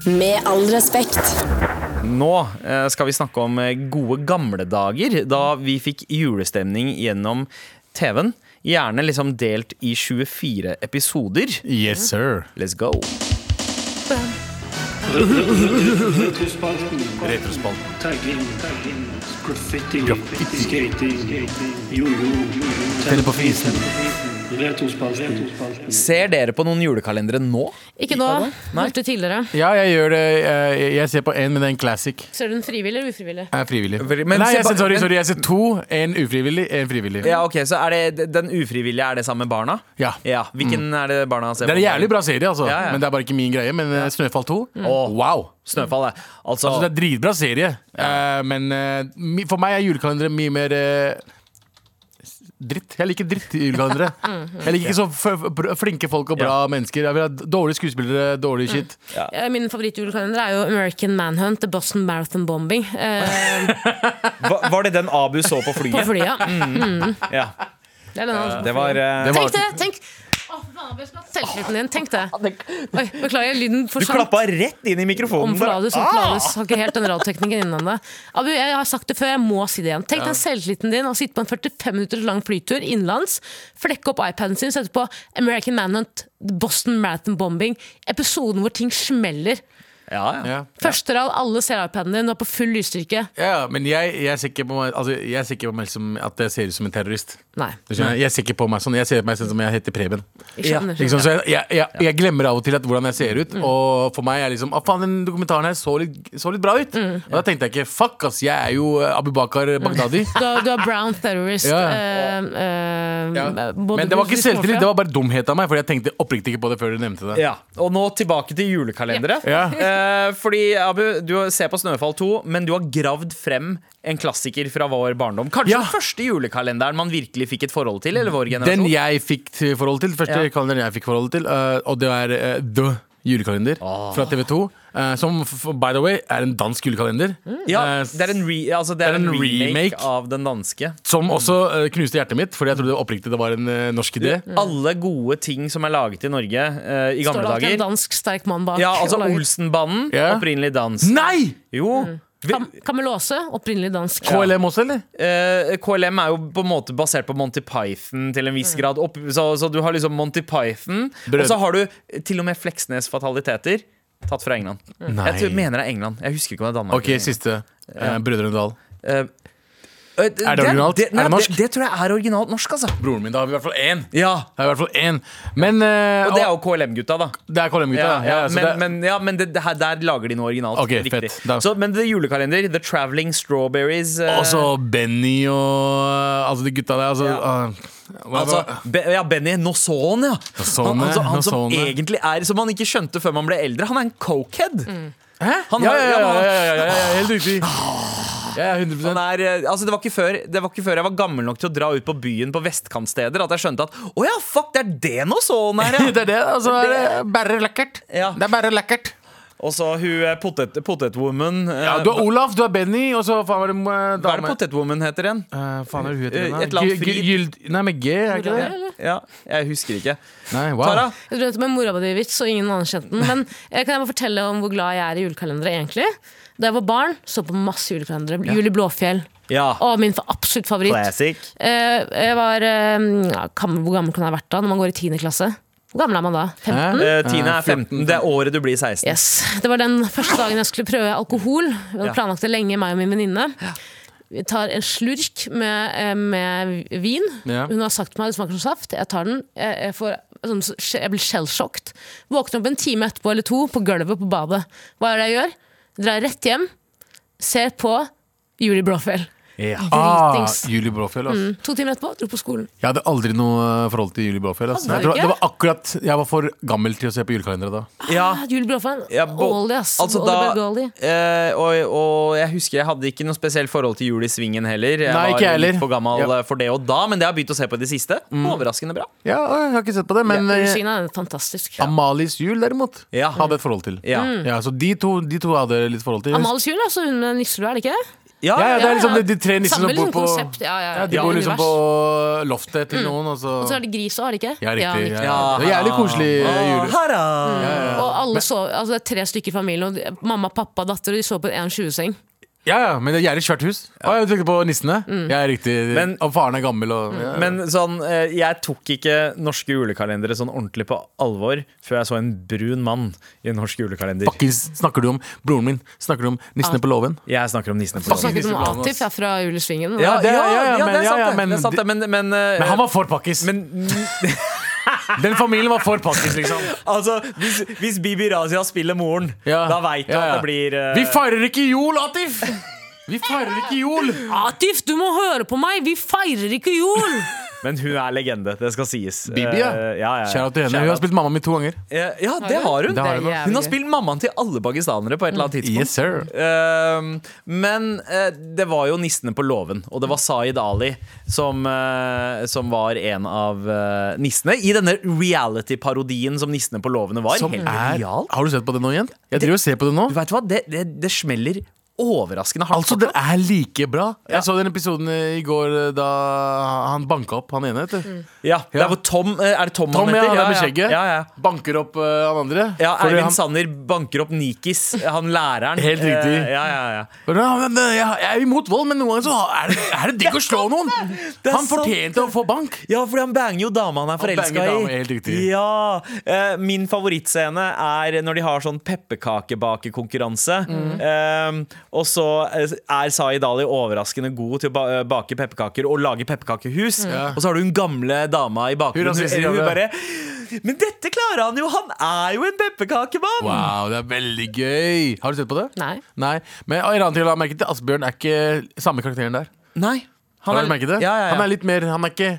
A: Med all respekt.
B: Nå eh, skal vi snakke om eh, gode gamle dager, da vi fikk julestemning gjennom TV-en. Gjerne liksom delt i 24 episoder.
C: Yes, sir.
B: Let's go.
F: Retrospalten. Tagging. Graffiti. Skating. Jojo.
C: Tenne på fisen.
F: Retrospalten.
B: Ser dere på noen julekalendere nå?
D: Ikke nå, hørte tidligere.
C: Ja, jeg gjør det. eh, jeg- jeg ser på én, men det er en classic.
D: Ser du den frivillig eller ufrivillig?
C: Jeg er frivillig.
B: Veldig- men
C: Nei,
B: se
C: jeg
B: på-
C: ser, sorry,
B: men-
C: sorry, jeg ser to. En ufrivillig, en frivillig.
B: Ja, ok, så er det Den ufrivillige, er det sammen med barna?
C: Ja. Mm.
B: Hvilken er det barna ser
C: Det er en jævlig bra serie, altså.
B: Ja, ja.
C: Men det er bare ikke min greie. Men eh, Snøfall 2, wow!
B: Snøfall, ja. Altså,
C: Altså, det er dritbra serie, eh, men eh, mi- for meg er julekalendere mye mer eh, s- dritt. Jeg liker dritt i julekalendere.
D: [laughs] Mhm.
C: Jeg liker ikke så f f- flinke folk og bra mennesker. Jeg vil ha d- dårlige skuespillere, dårlig shit.
D: Eh, Min favorittjulekalender er jo American Manhunt, The Boston Marathon Bombing. Eh,
B: Hva- Var det den Abu så på
D: på
B: flyet? [laughs]
D: flyet.
B: Mm.
D: Mm.
B: ja.
D: Det er den altså.
B: Det var eh,
C: Det var-
D: Tenk det! Tenk Å, faen, jeg ble slått selvtilliten din. Tenk det. Oi, beklager, lyden
B: Du
D: forsvant.
B: klappa rett inn i mikrofonen.
D: Om for Ladus, om
B: Ah!
D: for Ladus. Har ikke helt den radioteknikken innom det. Abu, jeg har sagt det før, jeg må si det igjen. Tenk den selvtilliten din å sitte på en 45 minutter lang flytur innenlands, flekke opp iPaden sin, sette på American Manhunt, The Boston Marathon Bombing, episoden hvor ting smeller.
B: Ja, ja.
C: Ja.
D: Første rad, alle ser iPaden din, du er på full lysstyrke.
C: Ja, men jeg, jeg ser ikke på meg, altså, jeg ser ikke på meg som at jeg ser ut som en terrorist.
D: Nei.
C: Du skjønner, Jeg ser ikke på meg sånn. Jeg ser på meg sånn som jeg heter Preben.
D: Jeg skjønner. Mm.
C: Ikke sant? så jeg, jeg, jeg, jeg glemmer av og til at hvordan jeg ser ut. Og for meg er liksom ah, faen, den dokumentaren her så litt, så litt bra ut.
D: Mm.
C: Og da tenkte jeg ikke fuck, ass, jeg er jo eh, Abu Bakar Baghdadi.
D: Du er, du er brown terrorist.
C: Ja.
D: eh, eh,
C: Ja.
D: [laughs] både
C: Men det var ikke
D: gudslig
C: selvtillit,
D: småfra.
C: det var bare dumhet av meg. For jeg tenkte oppriktig ikke på det før du nevnte det.
B: Ja, Og nå tilbake til julekalendere.
C: Ja.
B: Eh, [laughs] Eh, fordi, Abu, du ser på Snøfall 2, men du har gravd frem en klassiker fra vår barndom. Kanskje
C: Ja.
B: den første julekalenderen man virkelig fikk et forhold til? Eller vår
C: Den
B: generasjon
C: jeg fikk til forhold til, første
B: sånn. Ja.
C: kalenderen jeg fikk forhold til, øh, og det er øh, The Julekalender
B: Ah.
C: fra TV2. øh, som, f- f- by the way, er en dansk julekalender.
B: Mm. ja,
C: Øh,
B: det er en, re, altså, det er en remake, av den danske.
C: Som også øh, knuste hjertet mitt, fordi jeg trodde oppriktig det var en øh, norsk idé.
B: Alle gode ting som er laget i Norge eh,
D: Mm. Står
B: i gamle
D: det alltid en
B: dager.
D: dansk sterk mann bak?
B: Ja, altså
D: og lager-
B: Olsenbanden.
C: Ja.
B: Opprinnelig dans.
C: Nei!
B: Jo.
D: Mm.
B: Vi,
D: Kam Kamelåse, opprinnelig dansk.
C: KLM også, eller?
B: eh, KLM er jo på en måte basert på Monty Python til en
D: Mm.
B: viss grad. Opp, så, så du har liksom Monty Python,
C: Brød-
B: og så har du til og med Fleksnes fataliteter. Tatt fra England.
D: Mm.
C: Nei.
B: Jeg tror, mener det er England. Jeg husker ikke om det er Danmark.
C: Ok, siste. Uh, Brødrene Dal.
B: Eh, eh, det
C: originalt?
B: Det,
C: Er
B: nei,
C: det norsk?
B: Det, det tror jeg er originalt norsk, altså.
C: Broren min, da har vi i hvert fall én.
B: Ja,
C: Da har vi i hvert fall én. Men øh,
B: Og det er jo KLM-gutta, da.
C: det er KLM-gutta.
B: Ja, ja,
C: så
B: men
C: det-
B: men, ja, men det, det her, der lager de noe originalt.
C: Ok,
B: Riktig.
C: fett. Da-
B: Så, men det er julekalender. The Traveling Strawberries. eh,
C: Og så Benny og Altså de gutta der. Altså,
B: Ja.
C: ah, hva-
B: Altså,
C: hva-
B: Be ja, Benny Nosson, ja.
C: Nosson,
B: han, altså, han som
C: Nosson, ja.
B: egentlig er Som han ikke skjønte før man ble eldre. Han er en cokehead.
C: Hæ?
B: Han
C: Mm. ja,
B: har-
C: ja, ja,
B: han har-
C: ja, ja, ja, ja, ja, helt riktig. Ja, ja, 100
B: Han er, eh, altså, det, var ikke før, det var ikke før jeg var gammel nok til å dra ut på byen på vestkantsteder at jeg skjønte at å ja, fuck, det er det Nosson
C: [laughs]
B: er,
C: Det
B: ja.
C: er det, altså. Det er bare lekkert.
B: Ja.
C: Det er bare lekkert.
B: Og så hun eh, potet, potetwoman. eh,
C: Ja, du har Olaf, du har Benny, og så faen var det eh,
B: hva er det
C: dame
B: potetwoman heter igjen?
C: Eh, faen er det hun heter igjen, da?
B: Et eller annet
C: Gy-
B: fri.
C: gy- gyld- Nei, med G, er ikke det?
D: Eller?
B: Ja, jeg husker ikke.
C: Nei, wow.
B: Tara?
D: Jeg drømte med mora mi vits, og ingen annen kjente den. Men eh, kan jeg bare fortelle om hvor glad jeg er i julekalendere, egentlig? Da jeg var barn, så på masse julekalendere. Jul i Blåfjell.
B: Ja.
D: Og min fa- absolutt favoritt.
B: Classic.
D: Eh, jeg var eh, ja, kam- Hvor gammel kan jeg ha vært da, når man går i 10. klasse? Hvor gammel er man da? 15?
C: Hæ?
B: Eh, Tina er 15. Det er året du blir 16.
D: Yes. Det var den første dagen jeg skulle prøve alkohol. Vi hadde
B: Ja.
D: planlagt det lenge, meg og min venninne. Vi tar en slurk med, eh, med vin.
C: Ja.
D: Hun har sagt til meg det smaker som saft. Jeg tar den. Jeg, jeg, får, sånn, jeg blir skjellsjokket. Våkner opp en time etterpå eller to på gulvet på badet. Hva er det jeg gjør? Drar rett hjem, ser på Julie Blåfjell.
C: Ah,
D: Dritings.
C: Julie Bråfjell, altså.
D: Mm. To timer etterpå, dro på skolen.
C: Jeg hadde aldri noe eh, forhold til Julie Bråfjell. Altså.
D: Hadde
C: Jeg
D: du
C: tror, det
D: ikke?
C: var akkurat, jeg var for gammel til å se på julekalendere da.
B: Ja.
D: Ah, Julie Blåfjell.
B: Ja, bo-
D: Oldie, ass.
B: altså
D: Oldie
B: da-
D: but goldie.
B: Eh, og, og jeg husker jeg hadde ikke noe spesielt forhold til Jul i Svingen heller. Jeg
C: Nei,
B: var
C: ikke jeg heller.
B: litt for gammel
C: Ja.
B: eh, for det og da, men det har jeg begynt å se på i det siste.
D: Mm.
B: Overraskende bra.
C: Ja, jeg har ikke sett på det, men eh,
D: Regina er fantastisk.
C: Amalies jul, derimot,
B: Ja.
C: hadde et forhold til.
B: Ja.
C: Ja, så de to, de to hadde litt forhold til.
D: Amalie Kjul, altså hun med nisselue, er det ikke det?
B: Ja,
C: Ja, ja,
D: ja,
C: det er liksom
D: ja.
C: de, de tre nissene
D: Samme
C: som bor
D: liksom
C: på
D: konsept, ja, ja,
C: Ja, de
D: ja,
C: bor
D: univers.
C: liksom på loftet til noen, og så
D: Og så er det gris òg, er det ikke?
C: Ja, riktig. Ja,
D: riktig.
C: ja. Det er jævlig koselig eh, jul.
B: Her, da.
D: Og alle så, altså det er tre stykker i familien, og de- mamma, pappa, datter, og de så på en 21-seng.
C: Ja, ja, men det er jævlig svært hus. Å, jeg tenkte på nissene.
D: Mm.
C: Ja, riktig.
B: Men-
C: og faren er gammel og ja.
B: Men sånn, eh, jeg tok ikke norske julekalendere sånn ordentlig på alvor før jeg så en brun mann i en norsk julekalender.
C: Fuckings snakker du om broren min? Snakker du om nissene på låven?
B: Jeg snakker om nissene
D: Så
B: på
C: Fuck.
B: låven.
D: snakket vi om
C: Nisseplanen,
D: Atif ja, fra Julesvingen.
B: Ja,
C: det-
B: ja,
C: ja, ja,
B: ja,
C: men-
B: det er
C: ja, ja,
B: sant, det.
C: men
B: det. er sant det, Men, men, eh,
C: Men han var for
B: [laughs]
C: pakkis.
B: men
C: Den familien var for pakkis, liksom.
B: Altså, hvis, hvis Bibi Razia spiller moren,
C: Ja.
B: da veit du
C: Ja, ja.
B: at det blir eh,
C: Vi feirer ikke jul, Atif! Vi feirer ikke jul!
D: Eh, Atif, du må høre på meg! Vi feirer ikke jul!
B: Men hun er legende, det skal sies.
C: Bibi, ja.
B: Eh, ja, ja.
C: Kjære til henne. Hun har spilt mamma mi to ganger.
B: Eh, ja, det har hun.
C: Det har
D: hun. Det er
C: Mm.
B: Hun har
D: jævlig.
B: spilt mammaen til alle pakistanere på et eller annet tidspunkt.
C: Yes, sir.
B: Eh, men eh, det var jo nissene på låven, og det var Zaid Ali som, eh, som var en av eh, nissene i denne reality-parodien som nissene på låvene var.
C: Som
B: Helt
C: er,
B: genial.
C: har du sett på det nå igjen? Jeg driver og ser på det nå.
B: Vet du hva, det, det, det smeller overraskende hardt.
C: Altså, den er like bra. Jeg så den episoden eh, i går eh, da han banka opp han ene. Heter.
B: ja,
C: ja.
B: der hvor Tom eh, Er det Tom,
C: Tom,
B: Mm. han
C: ja,
B: heter?
C: han der med skjegget.
B: Ja, ja.
C: Banker opp eh, han andre.
B: Ja,
C: Fordi
B: Eivind
C: han,
B: Sanner banker opp Nikis, han læreren.
C: Helt
B: Eh,
C: riktig.
B: ja, ja, ja.
C: Fordi han, men, eh, jeg, jeg er imot vold, men noen ganger så er det, er det
B: [laughs]
C: digg å slå noen.
B: er
C: Han
B: sant.
C: fortjente å få bank.
B: Ja, fordi han banger jo dama han er
C: banger
B: forelska i.
C: dama, helt riktig.
B: Ja, eh, Min favorittscene er når de har sånn pepperkakebakekonkurranse.
C: Mm.
B: Eh, og så eh, er Zaid Ali overraskende god til å ba eh, bake pepperkaker og lage pepperkakehus. Og så har du hun gamle dama i bakgrunnen.
C: Mm. Hun er
B: Hun,
C: rasistisk,
B: hun
C: ja.
B: bare Men dette klarer han jo! Han er jo en pepperkakemann!
C: Wow, det er veldig gøy. Har du sett på det?
D: Nei.
C: Nei. Men en annen ting jeg la merke til, Asbjørn er ikke samme karakteren der.
B: Nei,
C: Har du merket det?
B: Ja, ja, ja.
C: Han er litt mer Han er ikke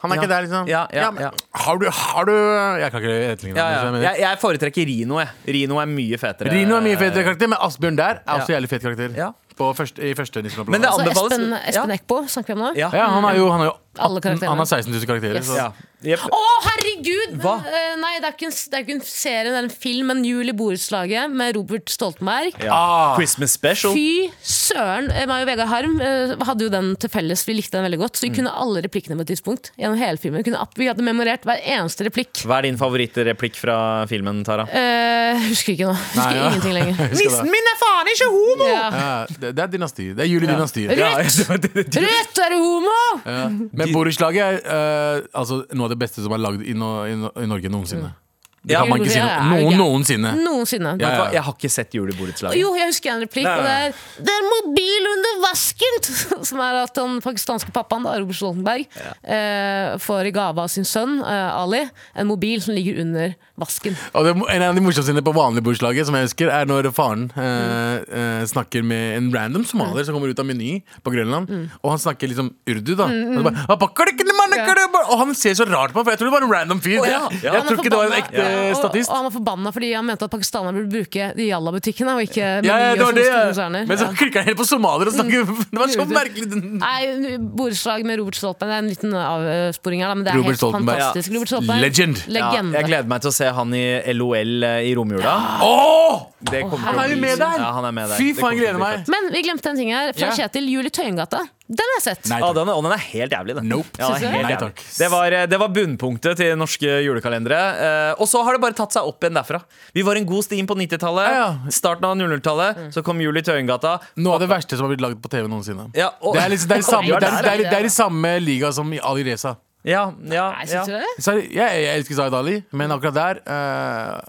C: Han er
B: Ja.
C: ikke der, liksom.
B: Ja, ja,
C: men
B: ja.
C: Har du Har du Jeg kan ikke etterligne
B: Ja, ja.
C: ham, så jeg mener-
B: Jeg, jeg foretrekker Rino. Jeg. Rino er mye fetere.
C: Rino er mye fetere karakter, men Asbjørn der er også
B: Ja.
C: jævlig fet karakter.
B: Ja.
C: På første, I første Nissen
B: Men det
D: Så
B: [laughs] anbefales.
D: Espen, Espen
B: Ja.
D: Eckbo snakker vi om nå?
B: Ja.
C: Ja, han har jo, han har jo
D: Alle
C: 18,
D: karakterene.
C: han har 16 000 karakterer.
D: Yes.
C: Så. [laughs]
B: Ja. Jep.
D: Å, herregud!
B: Hva?
D: Eh, nei, det er ikke en, det er ikke en serie, det er en film, men Jul i borettslaget med Robert Stoltenberg.
B: Ja.
C: Ah.
B: Christmas special.
D: Fy søren! Eh, Meg og Vegard Harm eh, hadde jo den til felles, vi likte den veldig godt. Så
B: Mm.
D: vi kunne alle replikkene på et tidspunkt. Gjennom hele filmen Vi kunne, app- Vi hadde memorert hver eneste replikk.
B: Hva er din favorittreplikk fra filmen, Tara?
D: Eh, husker ikke nå. Husker
C: Nei, ja.
D: ingenting
C: [laughs]
D: lenger.
C: Husker det.
B: min er faen ikke homo!
D: Ja.
C: Ja, det, det er dynasti. Det er juledynastiet.
D: Ja.
B: [laughs]
C: Ja.
D: Rødt, er du homo?!
C: Men Borettslaget er eh, altså, noe av det beste som er lagd i, no, i, no, i Norge noensinne. Det
B: Mm. Ja.
C: kan man ikke si
D: Ja,
C: noe.
D: ja, ja.
C: Noen noensinne.
D: Noensinne.
C: Ja, ja.
B: Jeg har ikke sett Julebordetslaget.
D: Jo, jeg husker en replikk. Og det er 'Det er mobil under vasken!' [laughs] Som er at den pakistanske pappaen, da, Robert Stoltenberg, eh, får i gave av sin sønn eh, Ali en mobil som ligger under vasken.
C: Og det, en av de morsomste scenene på vanlig borettslaget som jeg husker, er når faren eh, eh, snakker med en random somalier som kommer ut av Meny på Grønland. Og han snakker liksom urdu, da. Og, så bare, "Ah, bakker det ikke, mann, ikke det bare-" og han ser så rart på meg, for jeg tror det var en random fyr.
B: ja.
C: Jeg-
B: Ja.
C: Jeg tror ikke det var en
D: forbanna-
C: ekte
D: ja,
C: statist.
D: Og, og han var forbanna fordi han mente at pakistanere burde bruke de jalla-butikkene. Og ikke
C: ja, ja, det var det.
D: Meny og sånne konserner.
C: Men så klikka han helt på somalier og snakker Det var så merkelig.
D: Nei, borettslag med Robert Stoltenberg. Det er en liten avsporing her, da, men det er
C: Robert
D: helt
C: Stoltenberg, ja.
D: fantastisk. Robert Stoltenberg.
C: Legend.
B: Ja,
D: Legende.
B: jeg gleder meg til å se han i LOL eh, i romjula.
C: Åh!
B: Det kommer til å
C: Han er jo
B: bli-
C: med der!
B: Ja, han er med der.
C: Fy
B: Det
C: faen,
B: kommer til å
C: gleder
B: bli
C: meg.
B: fett.
D: Men vi glemte en ting her. Fra
C: Ja.
D: Kjetil. Jul i Tøyengata. Den har jeg sett.
C: Nei
B: Ah,
C: takk.
B: den, er- og den er helt jævlig, den.
C: Nope.
B: Ja,
D: Synes
B: den er
D: du det?
B: helt
C: Nei,
B: jævlig.
C: takk.
B: Det, var, eh, det var bunnpunktet til norske julekalendere. Eh, og så har det bare tatt seg opp igjen derfra. Vi var en god stim på 90-tallet.
C: Ja, ja.
B: Starten av 00-tallet.
D: Mm.
B: Så kom Jul i Tøyengata.
C: Noe av det verste som har blitt lagd på TV noensinne.
B: [laughs] Ja, og-
C: Det er liksom, det er i samme,
B: Vi var
C: det
B: der,
C: er, det er,
D: ja.
C: det er i samme liga som i Ali Reza.
B: Ja, ja,
D: Nei,
B: ja.
D: syns du det?
C: Så jeg, jeg elsker Zaid Ali, men akkurat der eh,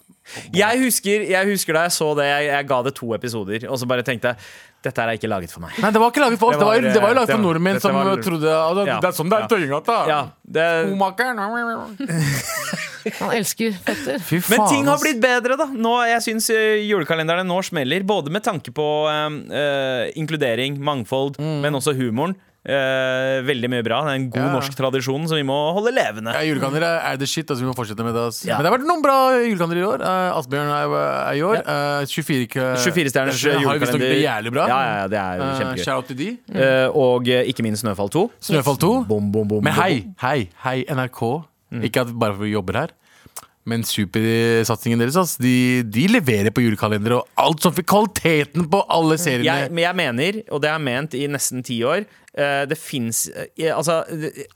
B: Jeg husker, jeg husker da jeg så det. Jeg, jeg ga det to episoder, og så bare tenkte jeg dette her er ikke laget for meg.
C: Nei, det var ikke laget for oss.
B: Det
C: Det
B: var,
C: var, det var jo laget
B: eh,
C: for
B: det-
C: nordmenn
B: dette
C: som
B: var-
C: trodde ah, det,
B: Ja.
C: det er sånn det er i
B: Ja.
C: Tøyengata.
B: Ja, det,
C: Skomakeren.
D: Han elsker føtter.
C: Fy
B: men ting har
C: ass.
B: blitt bedre, da. Nå, jeg syns eh, julekalenderne nå smeller. Både med tanke på eh, eh, inkludering, mangfold, men også humoren. Eh, veldig mye bra. Det er en god
C: Mm. Ja.
B: norsk tradisjon som vi må holde levende.
C: ja, Julekalender er er the shit, altså vi må fortsette med det. ass.
B: Ja.
C: Men det har vært noen bra julekalender i år. Eh, Asbjørn er, er i år. Eh, 24 k-
B: 24-stjerners
C: har jo visstnok
B: julekalender.
C: blitt jævlig bra.
B: Ja, ja, ja, det er jo
C: Eh,
B: kjempegøy.
C: shout out til de.
B: Eh, og eh, ikke minst Snøfall 2.
C: Snøfall 2.
B: Bom, bom, bom,
C: Men hei,
B: bom.
C: hei, hei NRK.
B: Mm.
C: Ikke at bare for vi jobber her. Men supersatsingen deres, ass. De, de leverer på julekalendere og alt som fikk kvaliteten på alle seriene.
B: Mm. Jeg, men jeg mener, og det har jeg ment i nesten ti år eh, Det fins Altså det-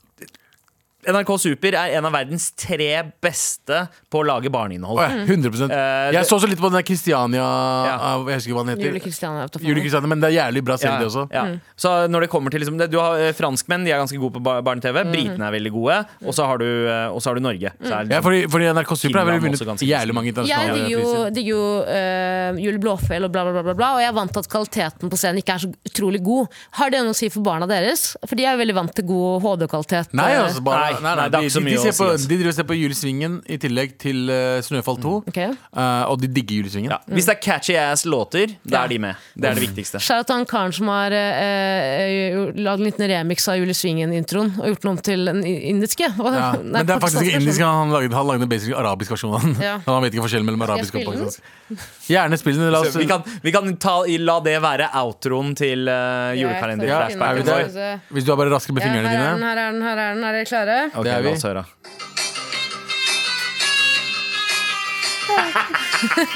B: NRK Super er en av verdens tre beste på å lage barneinnhold.
C: Å ja, 100
B: Eh,
C: Jeg så så litt på den der Kristiania
B: Ja.
C: av- Jeg husker ikke hva den
D: Jule
C: heter.
D: Kristiania er
C: Jule
D: autofon.
C: Kristiania, men det er jævlig bra serie,
B: Ja,
C: det også.
B: ja. Så når det kommer til liksom, det- Du har eh, franskmenn, de er ganske gode på bar- barne-TV. Britene er veldig gode. Og så har, du, eh, og så har du Norge. Så er det
C: Ja,
B: liksom-
C: fordi, fordi NRK Super har vel
B: Finland
C: vunnet
B: også ganske
C: jævlig mange
D: Jeg
C: internasjonale
D: digger jo,
C: priser.
D: digger jo eh, Jul Blåfjell og bla, bla, bla, bla, bla. Og jeg er vant til at kvaliteten på scenen ikke er så utrolig god. Har det noe å si for barna deres? For de er jo veldig vant til god eh, HD-kvalitet.
C: Nei, altså
B: Nei,
C: bare, nei, nei,
B: nei, det er ikke så
C: de, de,
B: mye
C: de,
B: å
C: ser på,
B: si, altså.
C: de driver og ser på Julesvingen i tillegg til eh, Snøfall 2.
D: ok.
C: eh, og de digger Julesvingen.
B: Mm, ja. Hvis det er catchy ass låter, da er de med. Det er det viktigste.
D: Shout out til han karen som har eh, eh, lagd en liten remix av Jule Svingen-introen og gjort den om til den indiske.
C: Ja,
D: [laughs] Nei,
C: men det er faktisk
D: pakistanske
C: ikke indisk. Han lagde, han lagde basic arabisk versjon av den.
D: Ja.
C: [laughs] Han vet ikke forskjellen mellom
D: jeg
C: arabisk og
D: spille den?
C: pakistansk. Gjerne spill den. La oss
B: Så vi kan, vi kan ta, la det være outroen til
D: Ja,
B: uh,
C: ja, er vi
B: julekalender-flashbacken vår.
D: det?
C: der? Hvis du er bare raske med fingrene
D: her
C: dine.
D: er den, her er den. Er dere klare?
B: Ok,
C: Det er vi.
B: la oss høre.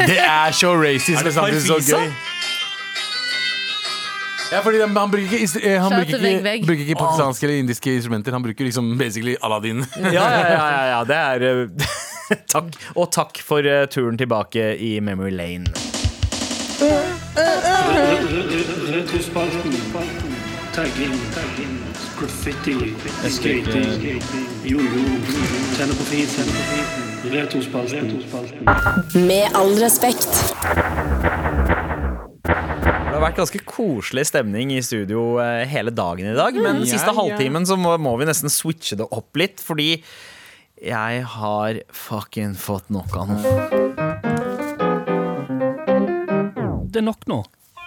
C: Det er så
B: [laughs] Er
C: racist, men
B: det
C: samtidig så
B: Farfisa?
C: gøy. Ja, fordi han, han bruker ikke, is- eh, han
D: Shout
C: bruker
D: til vegg,
C: ikke,
D: vegg.
C: bruker ikke pakistanske eller indiske instrumenter. Han bruker liksom basically Aladdin.
B: Ja, ja, ja, ja, ja det er eh, [laughs] Takk. Og takk for eh, turen tilbake i Memory Lane.
F: Retrospalten. Tagging. Graffiti. Skating. Jojo. Tenne på fisen. Retrospalten.
A: Med all respekt.
B: Det har vært ganske koselig stemning i studio eh, hele dagen i dag. Men den siste
C: Mm. ja, ja.
B: halvtimen så må, må vi nesten switche det opp litt, fordi jeg har fucking fått nok av noe.
G: Det er nok nå.
C: [laughs]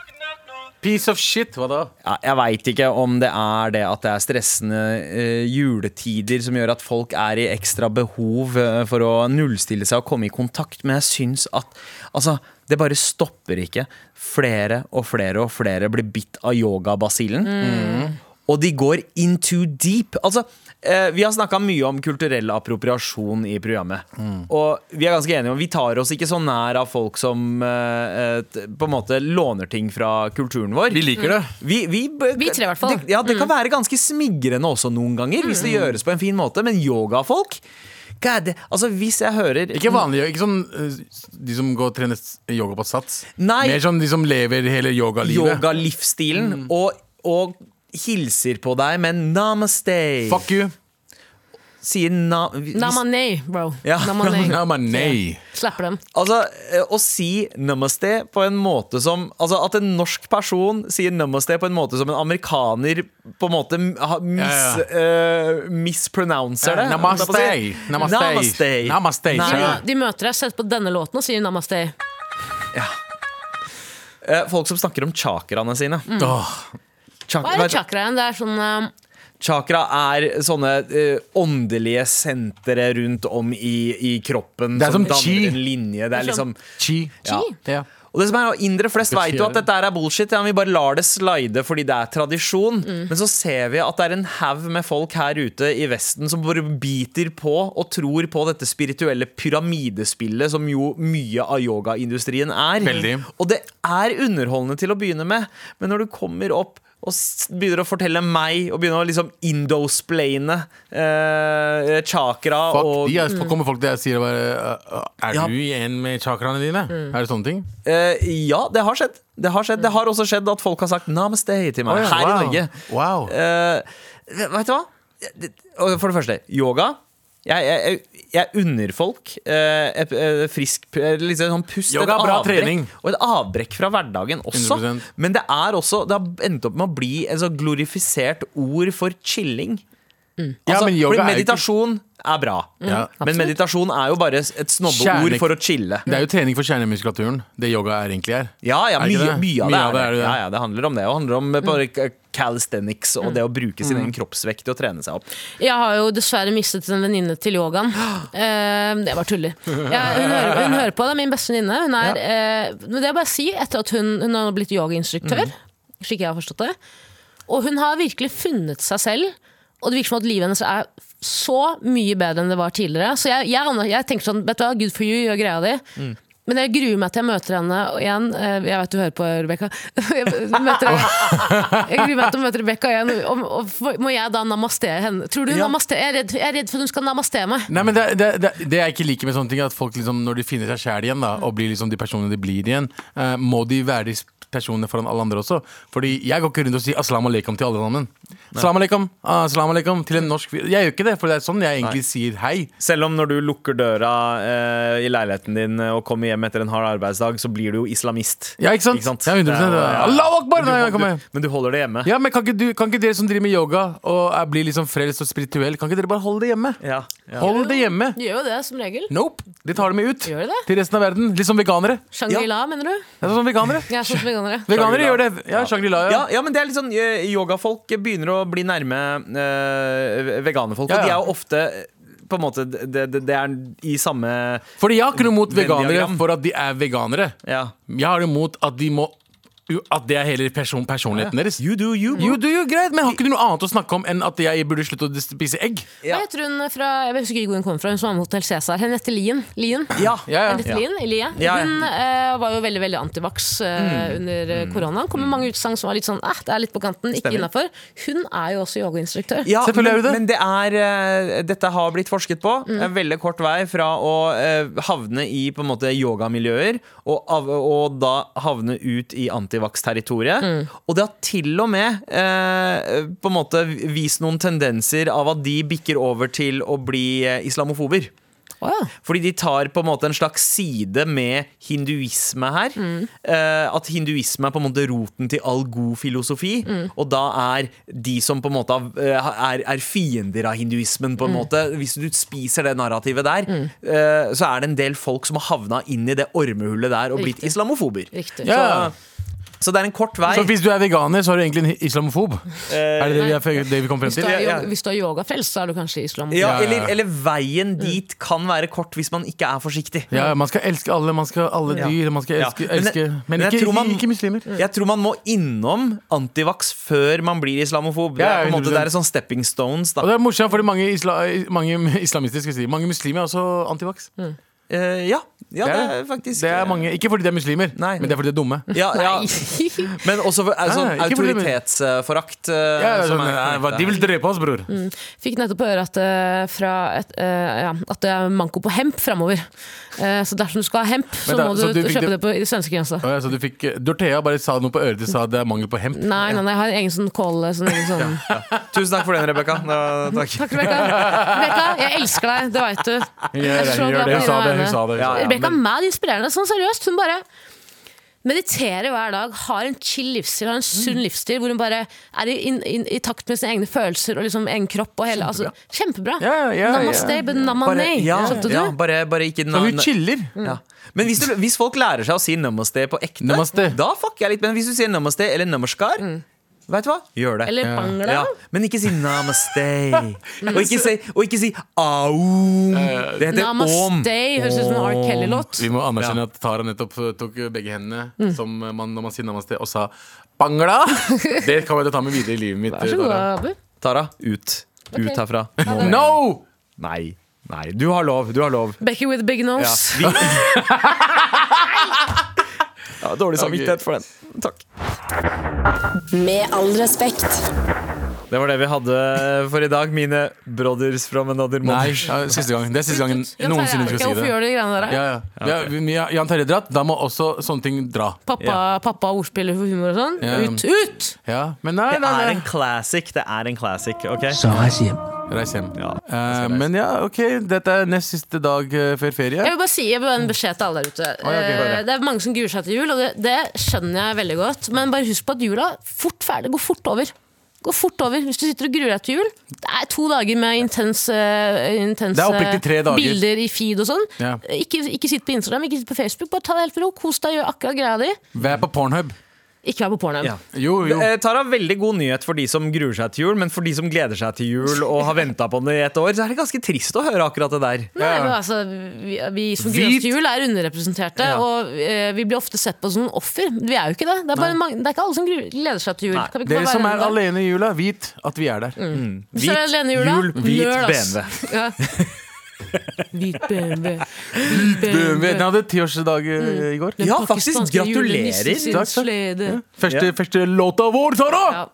C: Piece of shit, hva da?
B: Ja, jeg veit ikke om det er det at det er stressende eh, juletider som gjør at folk er i ekstra behov eh, for å nullstille seg og komme i kontakt, men jeg syns at Altså, det bare stopper ikke. Flere og flere og flere blir bitt av yogabasillen.
C: Mm.
B: Og de går into deep. Altså, eh, vi har snakka mye om kulturell appropriasjon i programmet. Og vi er ganske enige om vi tar oss ikke så nær av folk som eh, eh, t- på en måte låner ting fra kulturen vår. Mm.
C: Vi liker det.
B: Vi, vi, b-
D: Vi tre i hvert fall. Mm.
B: Det, ja, det kan være ganske smigrende også noen ganger, hvis det gjøres på en fin måte, men yogafolk God, altså hvis jeg hører
C: Ikke vanlig, ikke sånn eh, de som går og trener s- yoga på sats.
B: Nei.
C: Mer sånn de som lever hele yogalivet.
B: yogalivsstilen
C: Mm.
B: og, og hilser på deg med namaste
C: Fuck you.
B: Sier na, hvis,
D: Namanei, bro.
B: Ja.
D: Namanei.
C: [laughs] Ja, men nei.
D: Slapper dem.
B: Altså, eh, å si namaste på en måte som Altså, at en norsk person sier namaste på en måte som en amerikaner på en måte m- ha- mis,
C: Ja,
B: eh, mispronouncer det.
C: Ja, namaste.
B: holdt jeg på å si.
C: Namaste.
B: Namaste.
C: Namaste,
B: Nei.
D: De,
C: Ja.
D: de møter deg, setter på denne låten og sier namaste.
B: Eh, Folk som snakker om chakraene sine.
C: Mm. Åh.
B: Chak-
D: Hva er det
B: vet-
D: chakra igjen? Det er sånn um,
B: Chakra er sånne eh, åndelige sentre rundt om i, i kroppen
C: Det er som
B: danner
C: chi.
B: en linje. Det er
D: Det er som
B: liksom
C: Chi.
B: Ja.
C: Ja.
B: og det som er, Indre flest veit jo at dette her er bullshit. Ja, vi bare lar det slide fordi det er tradisjon. Men så ser vi at det er en haug med folk her ute i Vesten som bare biter på og tror på dette spirituelle pyramidespillet som jo mye av yogaindustrien er.
C: Veldig.
B: Og det er underholdende til å begynne med, men når du kommer opp og s- begynner å fortelle meg og begynner å liksom indosplaine eh, chakra
C: Fuck
B: og
C: de, altså, kommer folk til deg og sier bare «Øh, øh, Er
B: Ja.
C: du igjen med chakraene dine? Er det sånne ting?
B: Eh, ja, det har skjedd. Det har skjedd Det har også skjedd at folk har sagt namaste til meg
C: Å ja,
B: her
C: wow.
B: i Norge.
C: Wow.
B: Eh, vet du hva? Det- og For det første, yoga. Jeg, jeg, jeg- jeg unner folk eh, et, et frisk eh, liksom sånn pust.
C: Yoga er
B: et
C: bra
B: avbrekk,
C: trening.
B: Og et avbrekk fra hverdagen også.
C: 100%.
B: Men det er også Det har endt opp med å bli et så glorifisert ord for chilling.
C: Ja,
B: Altså,
C: men
B: fordi
C: yoga er jo ikke-
B: meditasjon er bra.
C: Ja.
B: men meditasjon er jo bare et snobbeord
C: Kjerne-
B: for å chille.
C: Det er jo trening for kjernemuskulaturen. Det yoga er egentlig er.
B: Ja, ja
C: Er det
B: mye,
C: ikke
B: mye,
C: det?
B: av det er det.
C: det. Mm.
B: Ja, ja, det handler om det. Og handler om eh, bare k- calisthenics og det å bruke sin egen kroppsvekt til å trene seg opp.
D: Jeg har jo dessverre mistet en venninne til yogaen. Eh, det var tuller. Jeg- hun, hører, hun hører på, det er min beste venninne. Hun er, eh, men det er bare å si, etter at hun, hun har blitt yogainstruktør, slik jeg har forstått det, og hun har virkelig funnet seg selv, og det virker som at livet hennes er så mye bedre enn det var tidligere. Så jeg, jeg, aner- jeg tenker sånn, vet du hva, good for you, gjør greia di. Men jeg gruer meg til jeg møter henne og igjen. eh, Jeg vet du hører på, Rebekka. [laughs] Jeg møter henne jeg gruer meg til å møte Rebekka igjen. Og, og, og, må jeg da namastere henne? Tror du hun
B: Ja.
D: namaste? Jeg er, redd, jeg er redd for at hun skal namastere meg.
C: Nei, men det, det, det, det jeg ikke liker med sånne ting, er at folk liksom, når de finner seg sjæl igjen, da, og blir liksom de personene de blir igjen, eh, må de være de personene foran alle andre også. Fordi jeg går ikke rundt og sier aslam alaikum til alle sammen. Aslam alaikum, aslam alaikum til en norsk fyr. Jeg gjør ikke det, for det er sånn jeg egentlig sier hei.
B: Selv om når du lukker døra eh, i leiligheten din og kommer hjem etter en hard arbeidsdag, så blir du jo islamist.
C: Ja, ikke sant? Ja, 100%
B: Det er jo-
C: ja. Allahu akbar når jeg kommer.
B: Du, men du holder det hjemme.
C: [laughs] Ja, men kan ikke, du, kan ikke dere som driver med yoga og er, blir liksom frelst og spirituell, kan ikke dere bare holde det hjemme?
B: Ja, ja.
C: Hold det hjemme.
D: De gjør jo det, som regel.
C: Nope. De tar det med ut
D: Gjør de det?
C: til resten av verden. Litt som veganere.
D: Shangri-La, mener du?
C: Det er sånn veganere.
D: Jeg er sånn som veganere.
C: Veganere gjør det.
B: Shangri-La.
C: Ja, Shangri-La. Ja.
B: Ja, ja, men det er litt sånn eh, Yogafolk begynner å bli nærme eh, veganerfolk. Og
C: Ja,
B: de
C: ja.
B: er jo ofte eh, på en måte, det, det, det er i samme
C: Fordi jeg har ikke noe mot veganere
B: Venn-diagram.
C: for at de er veganere.
B: Ja.
C: Jeg har noe mot at de må At det er hele person, personligheten deres.
B: You do you, bro.
C: You do you, greit, men har ikke du noe annet å snakke om enn at jeg burde slutte å spise egg?
D: Hva
B: Ja.
D: heter hun fra Jeg husker ikke hvor hun kom fra. Hun som var med Hotell Cæsar. Henriette Lien. Lien.
B: Ja.
C: Ja, ja.
D: Henriette
B: Ja.
D: Lien, Elie.
B: Ja, Mm. ja.
D: Hun eh, var jo veldig veldig antivax eh, under eh, korona. Det kom med mange utsagn som var litt sånn eh, det er litt på kanten, ikke
B: Mm. Stemmer.
D: innafor. Hun er jo også yogainstruktør.
B: Ja, men,
C: Selvfølgelig er det det. Mm.
B: men det er, eh, dette har blitt forsket på. En veldig kort vei fra å eh, havne i på en måte yogamiljøer og, av, og da havne ut i antivax-territoriet.
C: Mm.
B: Og det har til og med eh, på en måte vist noen tendenser av at de bikker over til å bli eh, islamofober.
D: Å, ja.
B: Fordi de tar på en måte en slags side med hinduisme her. Eh, at hinduisme er på en måte roten til all god filosofi. Og da er de som på en måte eh, er, er fiender av hinduismen, på en måte Hvis du spiser det narrativet der, eh, så er det en del folk som har havna inn i det ormehullet der og blitt islamofober.
D: Riktig.
C: Ja.
B: Så, Så det er en kort vei.
C: Så hvis du er veganer, så er du egentlig en islamofob?
B: Eh,
C: er det det vi, er, det vi kom frem
D: Hvis du
C: til?
D: er,
B: ja.
D: yo- hvis du er yogafrelst, så er du kanskje islam.
B: ja,
C: ja, ja.
B: eller, eller veien dit kan være kort hvis man ikke er forsiktig.
C: Ja, man skal elske alle, man skal alle
B: Ja.
C: dyr, man skal
B: Ja. Men
C: elske,
B: jeg-
C: elske. Men,
B: men jeg
C: ikke,
B: tror man-
C: ikke muslimer.
B: Mm. Jeg tror man må innom antivax før man blir islamofob. Det
C: Ja,
B: er på en måte
C: 100%.
B: det er sånn stepping stones.
C: Og
B: Da.
C: det er morsomt, fordi mange, isla, mange [laughs] islamister skal jeg si Mange muslimer er også antivax.
B: Eh, ja. ja,
C: Det
B: det
C: er
B: er faktisk
C: Det er mange, ikke fordi de er muslimer,
B: Nei.
C: men det er fordi de er dumme.
B: ja, ja.
D: [laughs]
B: Men også for, altså,
C: Nei, ikke fordi-
B: autoritetsforakt. eh,
C: Ja, Mm. det er
B: som
C: sånn,
B: er-
C: "Nei, hva, de vil drepe oss, bror.
D: Fikk nettopp høre at, eh, fra et, eh, ja, at det er manko på hemp framover. Eh, så dersom du skal ha hemp, så
C: Men da-
D: må du,
C: så du fikk
D: kjøpe det
C: det-
D: på svenskegrensa.
C: Å ja, så du fikk, Dorthea bare sa noe på øret de sa det er mangel på hemp.
D: Nei, nei, nei, jeg har en egen sånn kål sånn, egen sånn.
B: Tusen takk for den, Rebekka. Takk.
D: Takk, Rebekka. Rebekka, jeg elsker deg, det veit du.
C: Hun
D: Jeg er så glad på
C: Hun
D: dine vegne.
C: sa det. Hun sa det, hun sa
B: Ja,
C: det.
B: ja.
D: Rebekka er
B: men-
D: mad inspirerende. Sånn seriøst. Hun bare mediterer hver dag, har en chill livsstil, har en sunn
C: Mm.
D: livsstil, hvor hun bare er i, in, in, i takt med sine egne følelser og liksom egen kropp og hele Kjempebra. Altså, kjempebra.
C: Ja, ja, ja.
D: Namaste, but namane.
B: Bare, ja,
D: Skjønte du?
B: ja, bare, bare ikke
C: Så hun chiller.
D: Mm.
B: Ja. Men hvis, du, hvis folk lærer seg å si namaste på ekte,
C: Namaste.
B: da fucker jeg litt. Men hvis du sier namaste eller namaskar, vet du hva? Gjør
D: Mm.
B: det.
D: Eller bangla.
B: Ja. Men ikke si
D: [laughs]
B: namaste. og, ikke si, og ikke si aum. Det heter om.
D: Namaste høres ut som en R. Kelly-låt.
C: Vi må anerkjenne at Tara nettopp eh, tok begge hendene som eh, man, når man sier namaste, og sa bangla. Det kommer jeg til å ta med videre i livet mitt.
D: Vær så god,
C: Tara.
D: Abu.
B: Tara, ut. Ut herfra. Nå.
C: No!
B: Nei. Nei. Du har lov. Du har lov.
D: Becky with big
B: Ja.
D: nose. [laughs]
B: Vi... Ja, dårlig samvittighet for den. Takk.
A: Med all respekt.
B: Det var det vi hadde for i dag, mine brothers from another
C: Nei,
D: [laughs]
B: mother.
C: ja, siste gang. Det er siste gangen
D: Jan Terje
C: noensinne
D: er
C: du
D: ikke-
C: skal si
D: Hvorfor
C: det.
D: gjør du de greiene der?
C: Ja, ja. Ja, vi- ja, Jan Terje dratt, da må også sånne ting dra.
D: Pappa, pappa ordspiller for humor og sånn.
C: Ja.
D: Ut! Ut!
C: Ja, men nei,
B: Det
C: nei,
B: er
C: nei.
B: en classic. Det er en classic, ok?
C: Reis hjem.
B: Ja, jeg
C: Eh, men ja, OK. Dette er nest siste dag eh, før ferie.
D: Jeg vil bare si jeg vil bare en beskjed til alle der ute.
C: ja, ok, bare.
D: Eh, det er mange som gruer seg til jul, og det, det skjønner jeg veldig godt. Men bare husk på at jula fort ferdig, går fort over. Går fort over Hvis du sitter og gruer deg til jul. Det er to dager med intense, intense
C: Det er oppriktig tre dager.
D: eh, bilder i feed og sånn.
C: Ja.
D: Ikke, ikke sitt på Instagram, ikke sitt på Facebook. Bare ta det helt med ro. Kos deg, gjør akkurat greia di.
C: Vær på Pornhub.
D: Ikke vær på pornoen.
B: Ja.
C: Jo, jo.
B: Eh, Tara, veldig god nyhet for de som gruer seg til jul, men for de som gleder seg til jul og har venta på det i et år, så er det ganske trist å høre akkurat det der.
D: Nei,
C: Ja.
D: men altså, vi, vi som
C: Hvit-
D: gruer oss til jul, er underrepresenterte.
B: Ja.
D: Og eh, vi blir ofte sett på som offer. Vi er jo ikke det. Det er, bare mange, det er ikke alle som gruer- gleder seg til jul.
B: Nei,
D: Kan vi ikke
C: Dere
D: bare
C: som
D: være Mm.
C: er
D: enige?
C: alene i jula, vit at vi er der.
D: Hvis dere er alene i jula,
B: jul, hvit
D: nøl, ass.
C: altså.
B: BMW. [laughs]
D: Ja. Hvit BMW. Mm.
C: Den hadde tiårsdag eh, i går.
B: Ja, faktisk. Gratulerer.
C: Takk,
D: Takk,
C: takk. Første, første låta vår, Tara!
D: Ja.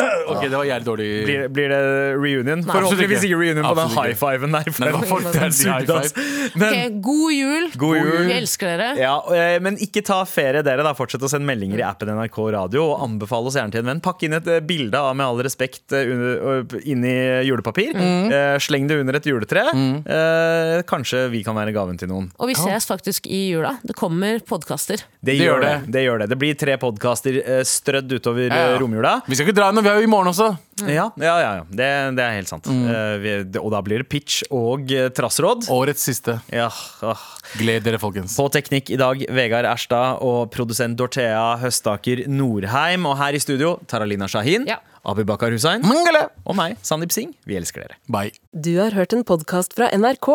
C: Ok, det var jævlig dårlig.
B: Blir, blir det reunion?
C: Absolutt
B: Forhåpentligvis
C: ikke.
B: ikke reunion på den
C: Absolutt ikke.
B: high fiven der. For
C: Nei, hva
B: [laughs] den-
C: faen, det er
B: den
C: de
B: sugde,
C: high
B: ass.
C: five.
B: Men,
D: Ok, god jul.
B: God jul.
D: Vi elsker dere.
B: ja, eh, men ikke ta ferie, dere. da Fortsett å sende meldinger i appen NRK Radio. Og anbefale oss gjerne til en venn. Pakk inn et eh, bilde av Med all respekt eh, under- og- inn i julepapir. Eh, Sleng det under et juletre. Eh, Kanskje vi kan være gaven til noen.
D: Og vi ses faktisk i jula. Det kommer podkaster.
B: Det
C: Det
B: gjør
C: gjør
B: det. Det, gjør det. det blir tre podkaster strødd utover
C: Ja, ja.
B: eh, romjula.
C: Vi skal ikke dra ennå, vi er jo i morgen også.
B: Ja, ja, ja, ja. Det, det er helt sant. Eh, vi, det, og da blir det pitch og eh, trassråd.
C: Årets siste.
B: Ja, åh.
C: Gled dere, folkens.
B: På teknikk i dag, Vegard Erstad og produsent Dorthea Høstaker Norheim. Og her i studio, Taralina Shahin,
D: Ja.
B: Abibakar Hussein
C: Mangala!
B: og meg, Sandeep Singh. Vi elsker dere.
C: Bye.
G: Du har hørt en podkast fra NRK.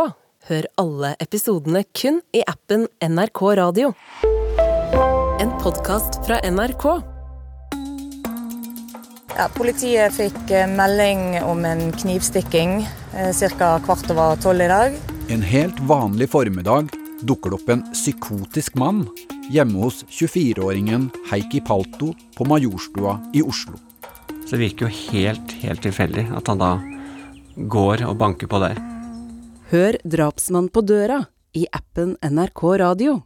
G: Hør alle episodene kun i appen NRK Radio. En podkast fra NRK.
H: Ja, politiet fikk eh, melding om en knivstikking ca. kvart over tolv i dag.
I: En helt vanlig formiddag dukker det opp en psykotisk mann hjemme hos 24-åringen Heikki Palto på Majorstua i Oslo.
J: Så det virker jo helt, helt tilfeldig at han da går og banker på der.
G: Hør 'Drapsmann på døra' i appen NRK Radio.